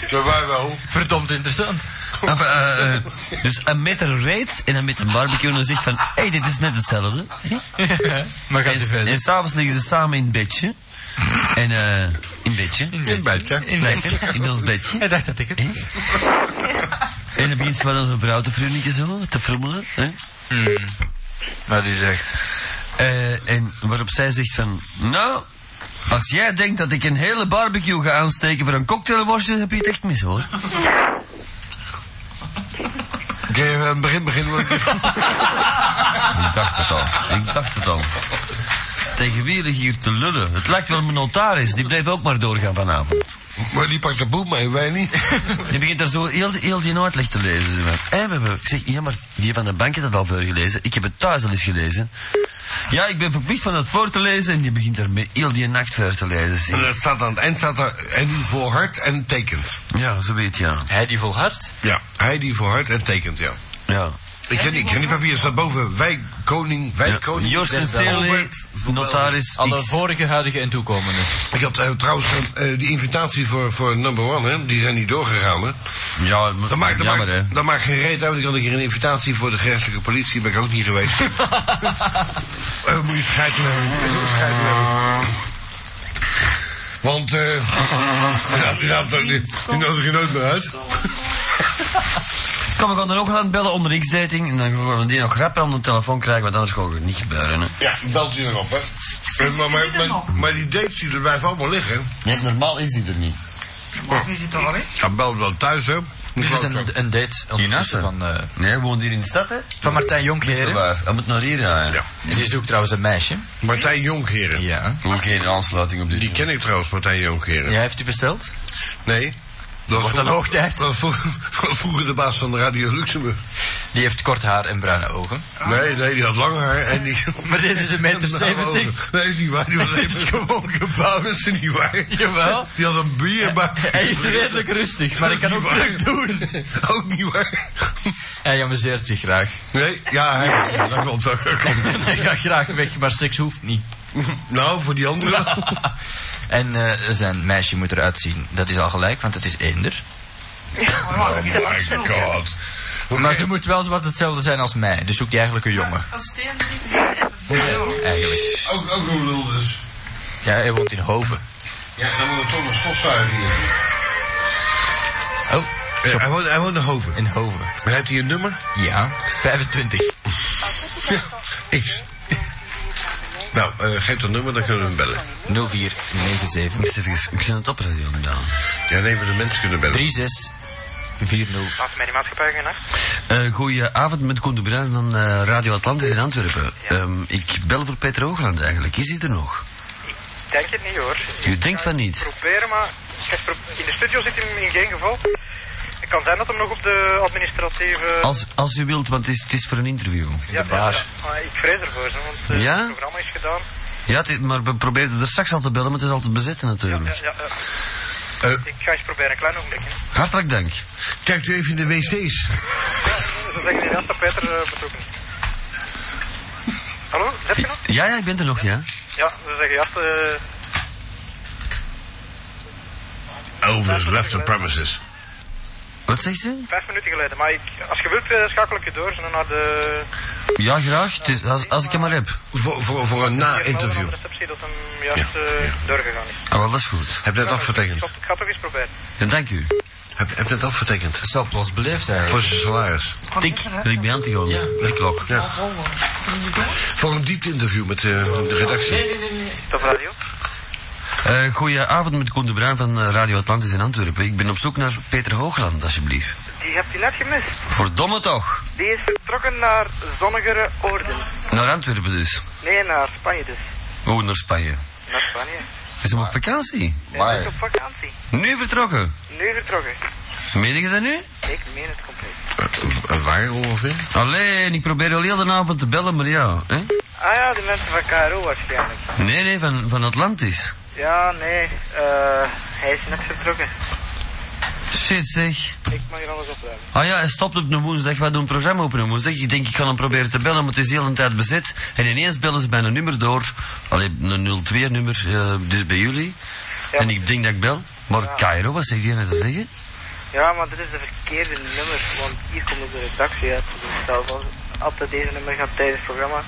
[SPEAKER 1] Zo wij wel.
[SPEAKER 13] Verdomd interessant.
[SPEAKER 4] Enfin, eh, eh, dus een meter reet en een meter barbecue en dan zegt van, hé, hey, dit is net hetzelfde.
[SPEAKER 13] maar gaat je
[SPEAKER 4] En,
[SPEAKER 13] verder.
[SPEAKER 4] en s'avonds liggen ze samen in bedje. En eh, in bedje.
[SPEAKER 1] In bed, ja.
[SPEAKER 13] In
[SPEAKER 4] Lekker, in ons bedje.
[SPEAKER 13] Hij dacht dat ik het...
[SPEAKER 4] En dan begint ze wel aan zijn vrouw te frunniken zo, te frummelen. Hè?
[SPEAKER 13] Hmm. Maar die zegt...
[SPEAKER 4] Eh, en waarop zij zegt van, nou, als jij denkt dat ik een hele barbecue ga aansteken voor een cocktailworstje, heb je het echt mis hoor.
[SPEAKER 14] Oké, begin, begin.
[SPEAKER 4] Ik dacht het al. Ik dacht het al. Tegen wie lig hier te lullen? Het lijkt wel mijn notaris. Die blijft ook maar doorgaan vanavond.
[SPEAKER 14] Maar die pakt de boel mee, wij niet.
[SPEAKER 4] Je begint daar zo heel, heel die uitleg te lezen. zeg maar. En we hebben... Ik zeg, ja, maar die van de bank heeft dat al veel gelezen. Ik heb het thuis al eens gelezen. Ja, ik ben verplicht van het voor te lezen. En je begint daar met heel die nacht voor te lezen. zeg.
[SPEAKER 1] En dat staat aan het eind staat er en die volhardt en tekent.
[SPEAKER 4] Ja, zo weet je.
[SPEAKER 1] Hij die volhardt? Ja, hij die volhardt en tekent, ja.
[SPEAKER 4] Ja.
[SPEAKER 1] Ik ken, ik ken die papier, staat boven wijkkoning, wijkkoning.
[SPEAKER 4] Joost en Steele, notaris.
[SPEAKER 1] Alle
[SPEAKER 4] X.
[SPEAKER 1] vorige, huidige en toekomende. Ik had eh, trouwens eh, die invitatie voor, voor number one, hè, die zijn niet doorgegaan. Hè.
[SPEAKER 4] Ja,
[SPEAKER 1] Dat maakt, dat,
[SPEAKER 4] jammer, hè.
[SPEAKER 1] maakt, dat maakt geen reet uit. Ik had een keer een invitatie voor de geestelijke politie, ben ik ook niet geweest. Eh, moet je scheid nemen. moet je scheid nemen. Want, eh. ja, die raapt ook niet. Die nodig je nooit meer uit.
[SPEAKER 4] Kom, we gaan er ook aan bellen onder X-dating. En dan gaan we die nog rap aan de telefoon krijgen, want anders gaat het niet gebeuren. Hè.
[SPEAKER 1] Ja, belt u erop, hè? Eh, Maar, maar, maar, maar die dates die er blijven allemaal liggen.
[SPEAKER 4] Nee, normaal is die er niet.
[SPEAKER 1] Normaal
[SPEAKER 5] is het al weg.
[SPEAKER 1] Ja, bel dan thuis, hè?
[SPEAKER 13] Dit is een, een date ondertussen van, eh,
[SPEAKER 4] Nee, woont hier in de stad, hè?
[SPEAKER 13] van Martijn
[SPEAKER 4] Is dat
[SPEAKER 13] Jonkheren.
[SPEAKER 4] waar? Hij moet naar hier rijden. Ja.
[SPEAKER 13] En die zoekt trouwens een meisje.
[SPEAKER 1] Martijn Jonkheren.
[SPEAKER 13] Ja.
[SPEAKER 4] Ook geen aansluiting op dit.
[SPEAKER 1] Die ken ik trouwens, Martijn Jonkheren.
[SPEAKER 13] Jij heeft u besteld?
[SPEAKER 1] Nee. Dat was
[SPEAKER 13] Wordt dat hoog tijd?
[SPEAKER 1] Dat was vroeger, vroeger de baas van de Radio Luxemburg.
[SPEAKER 13] Die heeft kort haar en bruine ogen.
[SPEAKER 1] Nee, nee, die had lang haar en die...
[SPEAKER 13] Maar deze is een meter
[SPEAKER 1] Nou,
[SPEAKER 13] 70.
[SPEAKER 1] Nee, is niet waar. Die was
[SPEAKER 13] Dat is
[SPEAKER 1] even gewoon gebouwd, dat is niet waar.
[SPEAKER 13] Jawel. Eh,
[SPEAKER 1] Die had een bierbak.
[SPEAKER 13] Hij is redelijk rustig, maar ik kan ook druk doen.
[SPEAKER 1] Ook niet waar.
[SPEAKER 13] Hij amuseert zich graag.
[SPEAKER 1] Nee, ja, hij, dat klopt, dat klopt.
[SPEAKER 13] Hij gaat graag weg, maar seks hoeft niet.
[SPEAKER 1] Nou, voor die andere wel.
[SPEAKER 13] En eh, zijn meisje moet eruit zien. Dat is al gelijk, want het is eender.
[SPEAKER 1] Oh my god.
[SPEAKER 13] Maar ze moet wel wat hetzelfde zijn als mij. Dus zoek je eigenlijk een jongen.
[SPEAKER 12] Dat steen niet meer.
[SPEAKER 13] Eigenlijk.
[SPEAKER 1] Ook, ook een lul dus.
[SPEAKER 13] Ja, hij woont in Hoven.
[SPEAKER 1] Ja, dan moet we toch nog stofzuigen hier.
[SPEAKER 13] Oh,
[SPEAKER 4] eh,
[SPEAKER 1] hij, woont, hij woont in Hoven.
[SPEAKER 13] in Hoven.
[SPEAKER 1] Maar heeft hij een nummer?
[SPEAKER 13] Ja, 25.
[SPEAKER 1] X. Nou, eh, geef dat nummer, dan kunnen we hem bellen.
[SPEAKER 13] 0497
[SPEAKER 4] Wacht even, ik zit aan het opradio gedaan.
[SPEAKER 1] Ja, nee, maar de mensen kunnen bellen.
[SPEAKER 13] 36 40.
[SPEAKER 11] Laat mij die maatschappij gaan, hè?
[SPEAKER 4] Eh goedenavond met Koen de Bruin van eh, Radio Atlantis in Antwerpen. Ehm, ik bel voor Peter Hoogland eigenlijk. Is hij er nog?
[SPEAKER 11] Ik Denk het niet hoor.
[SPEAKER 4] U denkt van niet.
[SPEAKER 11] Proberen, maar ik heb pro- in de studio zit hem in geen geval. Het kan zijn dat hem nog op de administratieve.
[SPEAKER 5] Oh,
[SPEAKER 4] Als, als u wilt, want het is, het is voor een interview.
[SPEAKER 11] Ja, ja, ja. Maar ik vrees ervoor, hè, want eh,
[SPEAKER 4] Ja?
[SPEAKER 11] het programma is gedaan.
[SPEAKER 4] Ja, het is- maar we probeerden er straks al te bellen, maar het is altijd bezet natuurlijk.
[SPEAKER 11] Ja, ja.
[SPEAKER 1] Eh.
[SPEAKER 11] Ik ga eens proberen, een klein ogenblikje.
[SPEAKER 4] Hartelijk dank.
[SPEAKER 1] Kijkt u even in de wc's.
[SPEAKER 11] Ze zeggen inderdaad dat Peter eh, betrokken is. Hallo, zet je nog?
[SPEAKER 4] Ja, ja, ik ben er nog, ja.
[SPEAKER 11] Ja, ze zeggen ja. eh,
[SPEAKER 1] Elvis left the premises.
[SPEAKER 4] Wat zegt ze?
[SPEAKER 11] vijf minuten geleden. Maar ik, als je wilt, eh, schakel ik je door zo naar de.
[SPEAKER 4] Ja, graag. Het is- als, als ik hem maar heb.
[SPEAKER 1] Voor, voor, voor een na-interview.
[SPEAKER 11] Aan de receptie dat hem juist
[SPEAKER 1] Ja,
[SPEAKER 11] eh,
[SPEAKER 1] ja.
[SPEAKER 11] doorgegaan is.
[SPEAKER 4] Ah, wel, dat is goed.
[SPEAKER 1] Heb net
[SPEAKER 11] Ik
[SPEAKER 1] afgetekend.
[SPEAKER 11] ga- ik ga toch eens proberen.
[SPEAKER 4] En dank u.
[SPEAKER 1] Heb, heb net afgetekend.
[SPEAKER 13] Het zal plots beleefd zijn.
[SPEAKER 1] Voor zijn salaris.
[SPEAKER 4] Tik, en ik ben aan te gaan. Ja. De klok.
[SPEAKER 1] Ja. Voor een diepte interview met eh, de redactie.
[SPEAKER 11] Tot radio.
[SPEAKER 4] Eh goedenavond met Koen de Bruin van eh, Radio Atlantis in Antwerpen. Ik ben op zoek naar Peter Hoogland, alsjeblieft.
[SPEAKER 11] Die hebt je net gemist.
[SPEAKER 4] Verdomme toch.
[SPEAKER 11] Die is vertrokken naar zonnigere oorden.
[SPEAKER 4] Naar Antwerpen dus.
[SPEAKER 11] Nee, naar Spanje dus.
[SPEAKER 4] Oh, naar Spanje.
[SPEAKER 11] Naar Spanje.
[SPEAKER 4] Is hem op vakantie?
[SPEAKER 11] Hij is op vakantie.
[SPEAKER 4] Nu vertrokken.
[SPEAKER 11] Nu vertrokken.
[SPEAKER 4] Meen je dat nu?
[SPEAKER 11] Ik meen het compleet.
[SPEAKER 1] waar ongeveer?
[SPEAKER 4] Alleen, ik probeer al heel de avond te bellen, maar ja. Hè?
[SPEAKER 11] Ah ja, die mensen van KRO waarschijnlijk.
[SPEAKER 4] Nee, nee, van, van Atlantis.
[SPEAKER 11] Ja, nee. eh, hij is net vertrokken.
[SPEAKER 4] Shit zeg.
[SPEAKER 11] Ik mag hier alles opruimen.
[SPEAKER 4] Ah ja, hij stopt op een woensdag. Wij doen een programma op een woensdag. Ik denk, ik ga hem proberen te bellen, maar het is heel een tijd bezet. En ineens bellen ze bij een nummer door. Allee, een 02-nummer bij jullie. en ik denk dat ik bel. Maar Cairo, wat zegt hij net te zeggen?
[SPEAKER 11] Ja, maar dit is de verkeerde nummer, want hier komt ook de redactie uit. Dus zelfs als altijd deze nummer gaat tijdens het programma,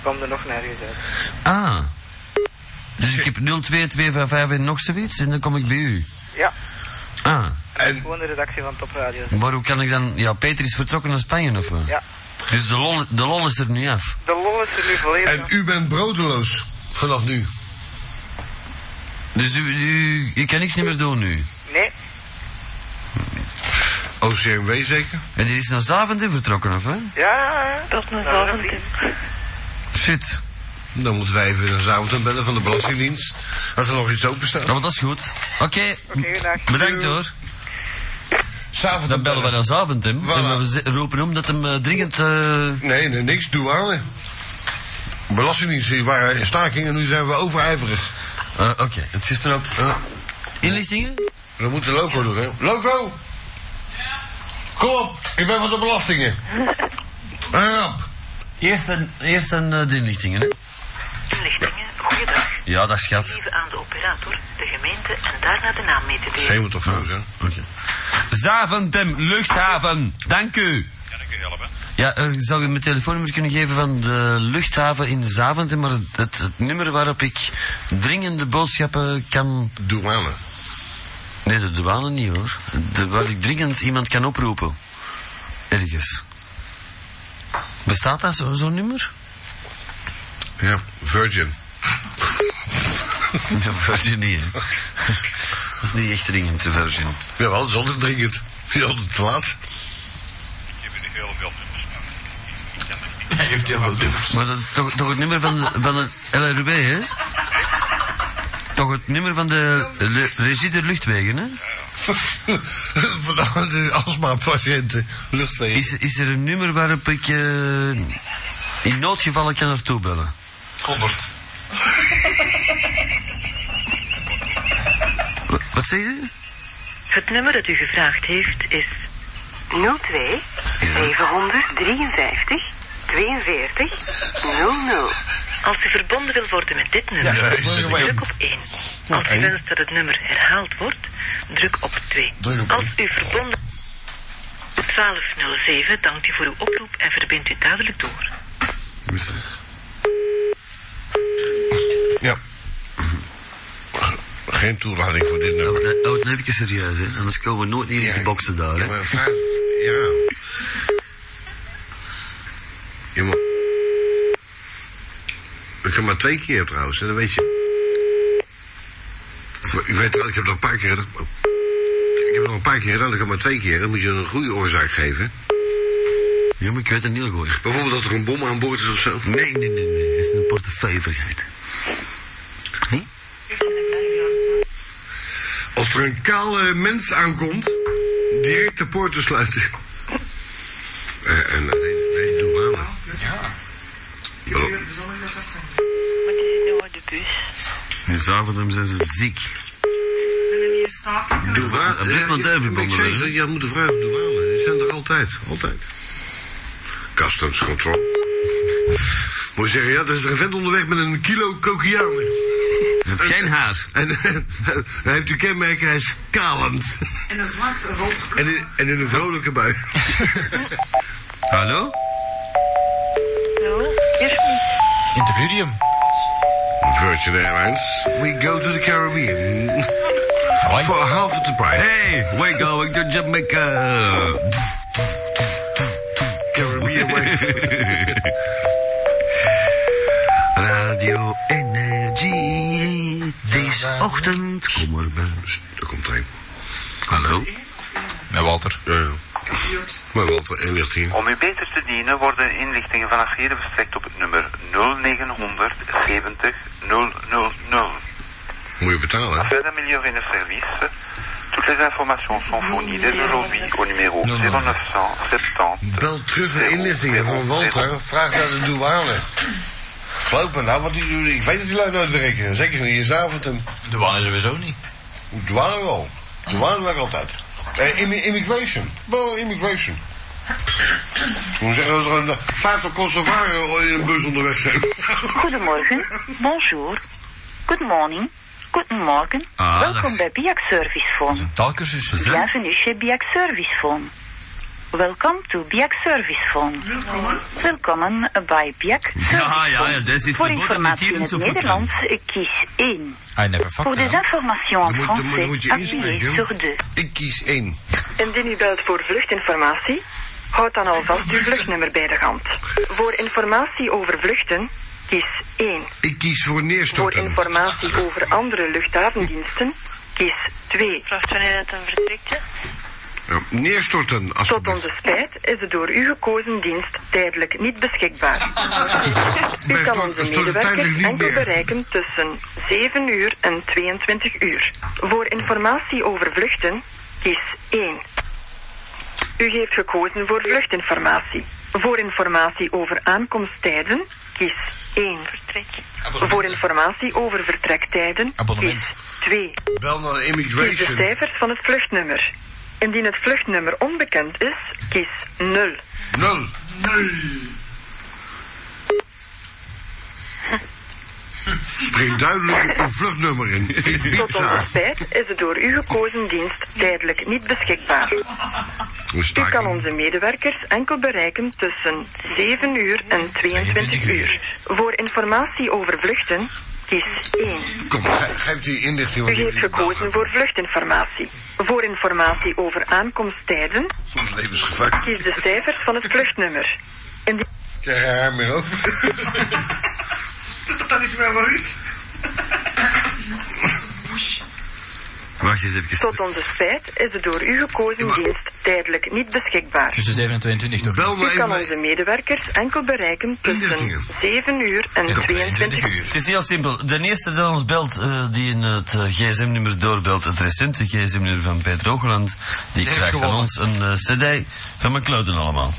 [SPEAKER 11] kwam er nog nergens uit.
[SPEAKER 4] Ah. Dus ik heb 02255 en nog zoiets en dan kom ik bij u.
[SPEAKER 11] Ja,
[SPEAKER 4] Ah.
[SPEAKER 1] En
[SPEAKER 11] gewoon de redactie van Top Radio.
[SPEAKER 4] Maar hoe kan ik dan... Ja, Peter is vertrokken naar Spanje of wat?
[SPEAKER 11] Ja.
[SPEAKER 4] Dus de lol, de lol is er nu af.
[SPEAKER 11] De lol is er nu volledig.
[SPEAKER 1] En u bent broodeloos. Vanaf nu.
[SPEAKER 4] Dus u, u, u kan niks niet meer doen nu.
[SPEAKER 11] Nee,
[SPEAKER 1] OCMW zeker?
[SPEAKER 4] En die is naar Zaventem vertrokken, of hè?
[SPEAKER 11] Ja, dat is een
[SPEAKER 1] Shit. Dan moeten wij even een avond bellen van de Belastingdienst. Als er nog iets open staat.
[SPEAKER 4] Ja, Nou, maar dat is goed. Oké.
[SPEAKER 11] goedendag.
[SPEAKER 4] Bedankt hoor. dan bellen we dan avond, hem. En we z- roepen om dat hem eh, dringend... eh,
[SPEAKER 1] Nee, nee, niks. Douane. Belastingdienst, die waren in staking en nu zijn we overijverig.
[SPEAKER 4] eh, Oké, het is eh. dan ook... inlichtingen?
[SPEAKER 1] We moeten Loco doen, hè. Loco! Kom op, ik ben van de belastingen. Rap.
[SPEAKER 4] Eerst een, eerst een eh, de inlichtingen, hè?
[SPEAKER 10] Inlichtingen, goeiedag.
[SPEAKER 4] Ja, dat schat.
[SPEAKER 10] Even aan de operator, de gemeente en daarna de naam mee te delen.
[SPEAKER 1] moet of zo, hè?
[SPEAKER 4] Zaventem, luchthaven. Dank u. Ja, eh, zou u mijn telefoonnummer kunnen geven van de luchthaven in Zaventem, maar het, het, het nummer waarop ik dringende boodschappen kan...
[SPEAKER 1] Douane.
[SPEAKER 4] Nee, de douane niet hoor. De, waar ik dringend iemand kan oproepen. Ergens. Bestaat dat zo- zo'n nummer?
[SPEAKER 1] Ja, Virgin.
[SPEAKER 4] De Virgin niet, hè. Dat is niet echt dringend, de Virgin.
[SPEAKER 1] Jawel, dat is altijd dringend. Vind je altijd te laat?
[SPEAKER 4] Hij heeft heel veel nummers. Maar dat is toch, toch het nummer van, de- van het LRB, hè? Toch het nummer van de le- regie der luchtwegen, hè?
[SPEAKER 1] Van de astma-patiënten, luchtwegen.
[SPEAKER 4] Is, is er een nummer waarop ik eh, in noodgevallen kan naartoe bellen?
[SPEAKER 1] 100.
[SPEAKER 4] Wat zeg je?
[SPEAKER 10] Het nummer dat u gevraagd heeft is 02 753 42 00. Als u verbonden wil worden met dit nummer,
[SPEAKER 15] Ja, dat is het.
[SPEAKER 10] druk op 1. Als u
[SPEAKER 15] één.
[SPEAKER 10] wenst dat het nummer herhaald wordt, druk op 2.
[SPEAKER 15] Druk op
[SPEAKER 10] Als u verbonden 1207 dankt u voor uw oproep en verbindt u duidelijk door.
[SPEAKER 1] Ja. Geen toelating voor dit nummer.
[SPEAKER 4] Dat dat neem ik eens serieus, hè? Anders komen we nooit hier in de boksen daar, hè?
[SPEAKER 1] Maar vraag, ja. Je moet... Ik kan maar twee keer trouwens, hè, dat weet je. Maar U weet wel, ik heb dat een paar keer gedaan. Oh. Ik heb nog een paar keer gedaan, dat kan maar twee keer. Dan moet je een goede oorzaak geven.
[SPEAKER 4] Ja, maar ik weet het niet goed.
[SPEAKER 1] Bijvoorbeeld dat er een bom aan boord is of zo.
[SPEAKER 4] Nee, nee, nee, nee. Is het een portefeuille vergeten?
[SPEAKER 1] Als er een kale mens aankomt, direct de poort te sluiten. Eh, en dat heet, dat heet douane. Ja.
[SPEAKER 4] In Zaventem zijn ze ziek.
[SPEAKER 1] Douane.
[SPEAKER 4] Dat blijft maar duiven
[SPEAKER 1] Ik
[SPEAKER 4] bonden,
[SPEAKER 1] zeg,
[SPEAKER 4] hè?
[SPEAKER 1] jij moet de vraag op douane. Die zijn er altijd. Altijd. Customs control. Moet je zeggen, ja, er is een vent onderweg met een kilo kokianen.
[SPEAKER 4] heeft geen haar.
[SPEAKER 1] En, en hij heeft uw kenmerken, hij is kalend.
[SPEAKER 12] En een zwarte rood.
[SPEAKER 1] En in, en in een vrolijke bui.
[SPEAKER 4] Hallo?
[SPEAKER 12] Hallo? Kirsten.
[SPEAKER 1] Interview hem. Virgin Airlines. We go to the Caribbean. For half of the price.
[SPEAKER 4] Hey, we're going to Jamaica.
[SPEAKER 1] Caribbean way.
[SPEAKER 4] Radio Energy. Deze ochtend. Kom maar bij.
[SPEAKER 1] Er komt er een.
[SPEAKER 4] Hallo?
[SPEAKER 1] Met Walter. Ja, ja. Met Walter, inlichting.
[SPEAKER 16] Om u beter te dienen worden inlichtingen vanaf heden verstrekt op het nummer 0900 70 000.
[SPEAKER 1] Moet je betalen, hè?
[SPEAKER 16] Afin d'améliorer nos services, toutes les informations sont fournies dès aujourd'hui au numéro 0970.
[SPEAKER 1] Bel terug naar inlichtingen van Walter. Vraag naar de douane. Geloof me nou, want die, ik weet dat die lui nooit werken. Zeker niet in Zaventem.
[SPEAKER 13] Douane sowieso niet.
[SPEAKER 1] Douane wel. Douane werkt altijd. Eh, immi- immigration. Wel immigration. Hoe zeggen we er een eh, vijftal conservaren eh, in een bus onderweg zijn?
[SPEAKER 10] Goedemorgen, bonjour, good morning, goedemorgen.
[SPEAKER 1] Ah,
[SPEAKER 10] Welkom
[SPEAKER 1] dat-
[SPEAKER 10] bij Biak Service Phone.
[SPEAKER 13] Taalkursus.
[SPEAKER 10] Bienvenue chez Biak Service Phone. Welcome to Biak Service Phone. Welkom bij Biak Service
[SPEAKER 4] Ja, ja, ja, dat is
[SPEAKER 10] Phone.
[SPEAKER 4] iets
[SPEAKER 10] Voor
[SPEAKER 4] verboden met
[SPEAKER 10] informatie in
[SPEAKER 4] tieren
[SPEAKER 10] het
[SPEAKER 4] zo goed
[SPEAKER 10] Nederlands, eh, kies 1.
[SPEAKER 13] I never
[SPEAKER 10] Voor
[SPEAKER 13] fucked
[SPEAKER 10] des informations en
[SPEAKER 1] Dan moet- dan moet- dan moet
[SPEAKER 10] français,
[SPEAKER 1] je
[SPEAKER 10] appuyez
[SPEAKER 1] inspreken.
[SPEAKER 10] sur 2.
[SPEAKER 1] Ik kies één.
[SPEAKER 17] Indien u belt voor vluchtinformatie, houd dan alvast uw vluchtnummer bij de hand. Voor informatie over vluchten, kies 1.
[SPEAKER 1] Ik kies voor
[SPEAKER 17] Voor
[SPEAKER 1] neerstorten.
[SPEAKER 17] informatie over andere luchthavendiensten, kies 2. Vraagt wanneer het een vertrekte?
[SPEAKER 1] Ja, neerstorten,
[SPEAKER 17] Tot onze spijt is de door u gekozen dienst tijdelijk niet beschikbaar. U kan onze medewerkers enkel bereiken tussen 7 uur en 22 uur. Voor informatie over vluchten kies 1. U heeft gekozen voor vluchtinformatie. Voor informatie over aankomsttijden kies 1. Voor informatie over vertrektijden kies 2.
[SPEAKER 1] Bel naar
[SPEAKER 17] Kies de
[SPEAKER 1] immigration.
[SPEAKER 17] cijfers van het vluchtnummer. Indien het vluchtnummer onbekend is, kies 0.
[SPEAKER 1] Nul. Spring duidelijk uw vluchtnummer in. Ik bied
[SPEAKER 17] Tot onze
[SPEAKER 1] daar.
[SPEAKER 17] spijt is de door u gekozen dienst tijdelijk niet beschikbaar.
[SPEAKER 1] Hoe sta
[SPEAKER 17] U
[SPEAKER 1] ik
[SPEAKER 17] kan onze medewerkers enkel bereiken tussen 7 uur en 22 uur. Voor informatie over vluchten, kies 1.
[SPEAKER 1] Kom, ge- geef die inlichting.
[SPEAKER 17] U
[SPEAKER 1] want
[SPEAKER 17] heeft
[SPEAKER 1] die-
[SPEAKER 17] gekozen voor vluchtinformatie. Voor informatie over aankomsttijden,
[SPEAKER 1] Soms levensgevaar.
[SPEAKER 17] kies de cijfers van het vluchtnummer. Indien
[SPEAKER 1] Ik krijg er haar meer over.
[SPEAKER 5] Dat is wel voor u.
[SPEAKER 4] Wacht eens even.
[SPEAKER 17] Tot onze spijt is de door u gekozen dienst tijdelijk niet beschikbaar.
[SPEAKER 13] Tussen 7 en 22 door.
[SPEAKER 17] U kan onze medewerkers enkel bereiken tussen 7 uur en 22 uur.
[SPEAKER 4] Het is heel simpel. De eerste die ons belt, eh, die in het eh, gsm-nummer doorbelt, het recente gsm-nummer van Peter Hoogland, die krijgt van ons een eh, cd van mijn kloten allemaal.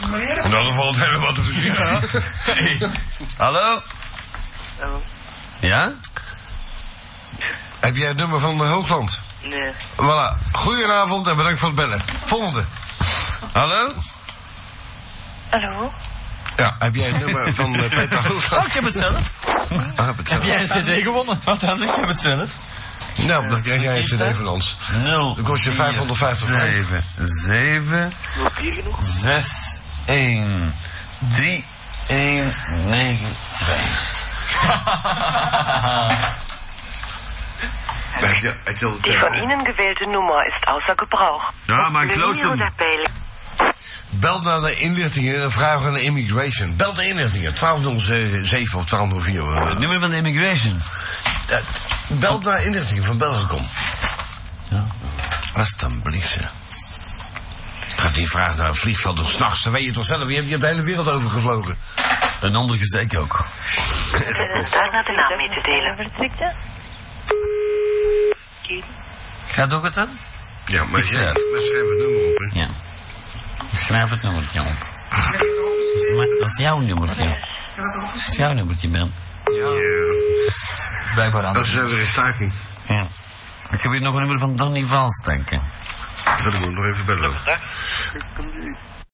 [SPEAKER 12] Meneer?
[SPEAKER 4] In alle geval hebben we wat te verzinnen. Hallo? Ja?
[SPEAKER 14] Heb jij het nummer van eh, Hoogland?
[SPEAKER 12] Nee.
[SPEAKER 14] Voilà. Goedenavond en bedankt voor het bellen. Volgende.
[SPEAKER 4] Hallo?
[SPEAKER 12] Hallo?
[SPEAKER 14] Ja, heb jij het nummer van eh, Peter Hoogland?
[SPEAKER 4] Oh, ik heb het zelf.
[SPEAKER 14] Ah, heb, het zelf.
[SPEAKER 4] gewonnen? Wat dan? Ik heb het zelf.
[SPEAKER 14] Nou, dan krijg jij een cd van ons.
[SPEAKER 4] 0.
[SPEAKER 14] Dat kost je 550 frank.
[SPEAKER 4] 7, 7, 6, 1, 3, 1, 9, 2.
[SPEAKER 15] Die von Ihnen gewählte Nummer ist außer Gebrauch.
[SPEAKER 4] Ah,
[SPEAKER 14] Ja, maar
[SPEAKER 15] Opnieuw
[SPEAKER 14] klootzak.
[SPEAKER 15] de bel-
[SPEAKER 14] Bel naar de inlichtingen en vraag aan de immigration. Bel de inlichtingen, 1207 of 1204.
[SPEAKER 4] Het nummer van de immigration.
[SPEAKER 14] Bel naar inlichtingen van Belgicom. Ja. Alsjeblieft, zeg. Gaat die vraag naar het vliegveld of s'nachts? Dan weet je toch zelf, je hebt, je hebt de hele wereld overgevlogen.
[SPEAKER 4] Een ander gezeik ook.
[SPEAKER 15] Daarna de naam mee te delen.
[SPEAKER 4] Gaat ook het dan?
[SPEAKER 1] Ja, maar
[SPEAKER 4] Ik
[SPEAKER 1] ja,
[SPEAKER 4] schrijf.
[SPEAKER 1] we schrijven het nummer op, hè.
[SPEAKER 4] Ja. Schrijf het nummertje op. Maar dat is jouw nummertje. Dat is jouw nummertje, Ben. Blijkbaar
[SPEAKER 1] Dat is weer een staking.
[SPEAKER 4] Ja. Ik heb hier nog een nummer van Donny Valstanken.
[SPEAKER 1] Dat moet ik nog even bellen.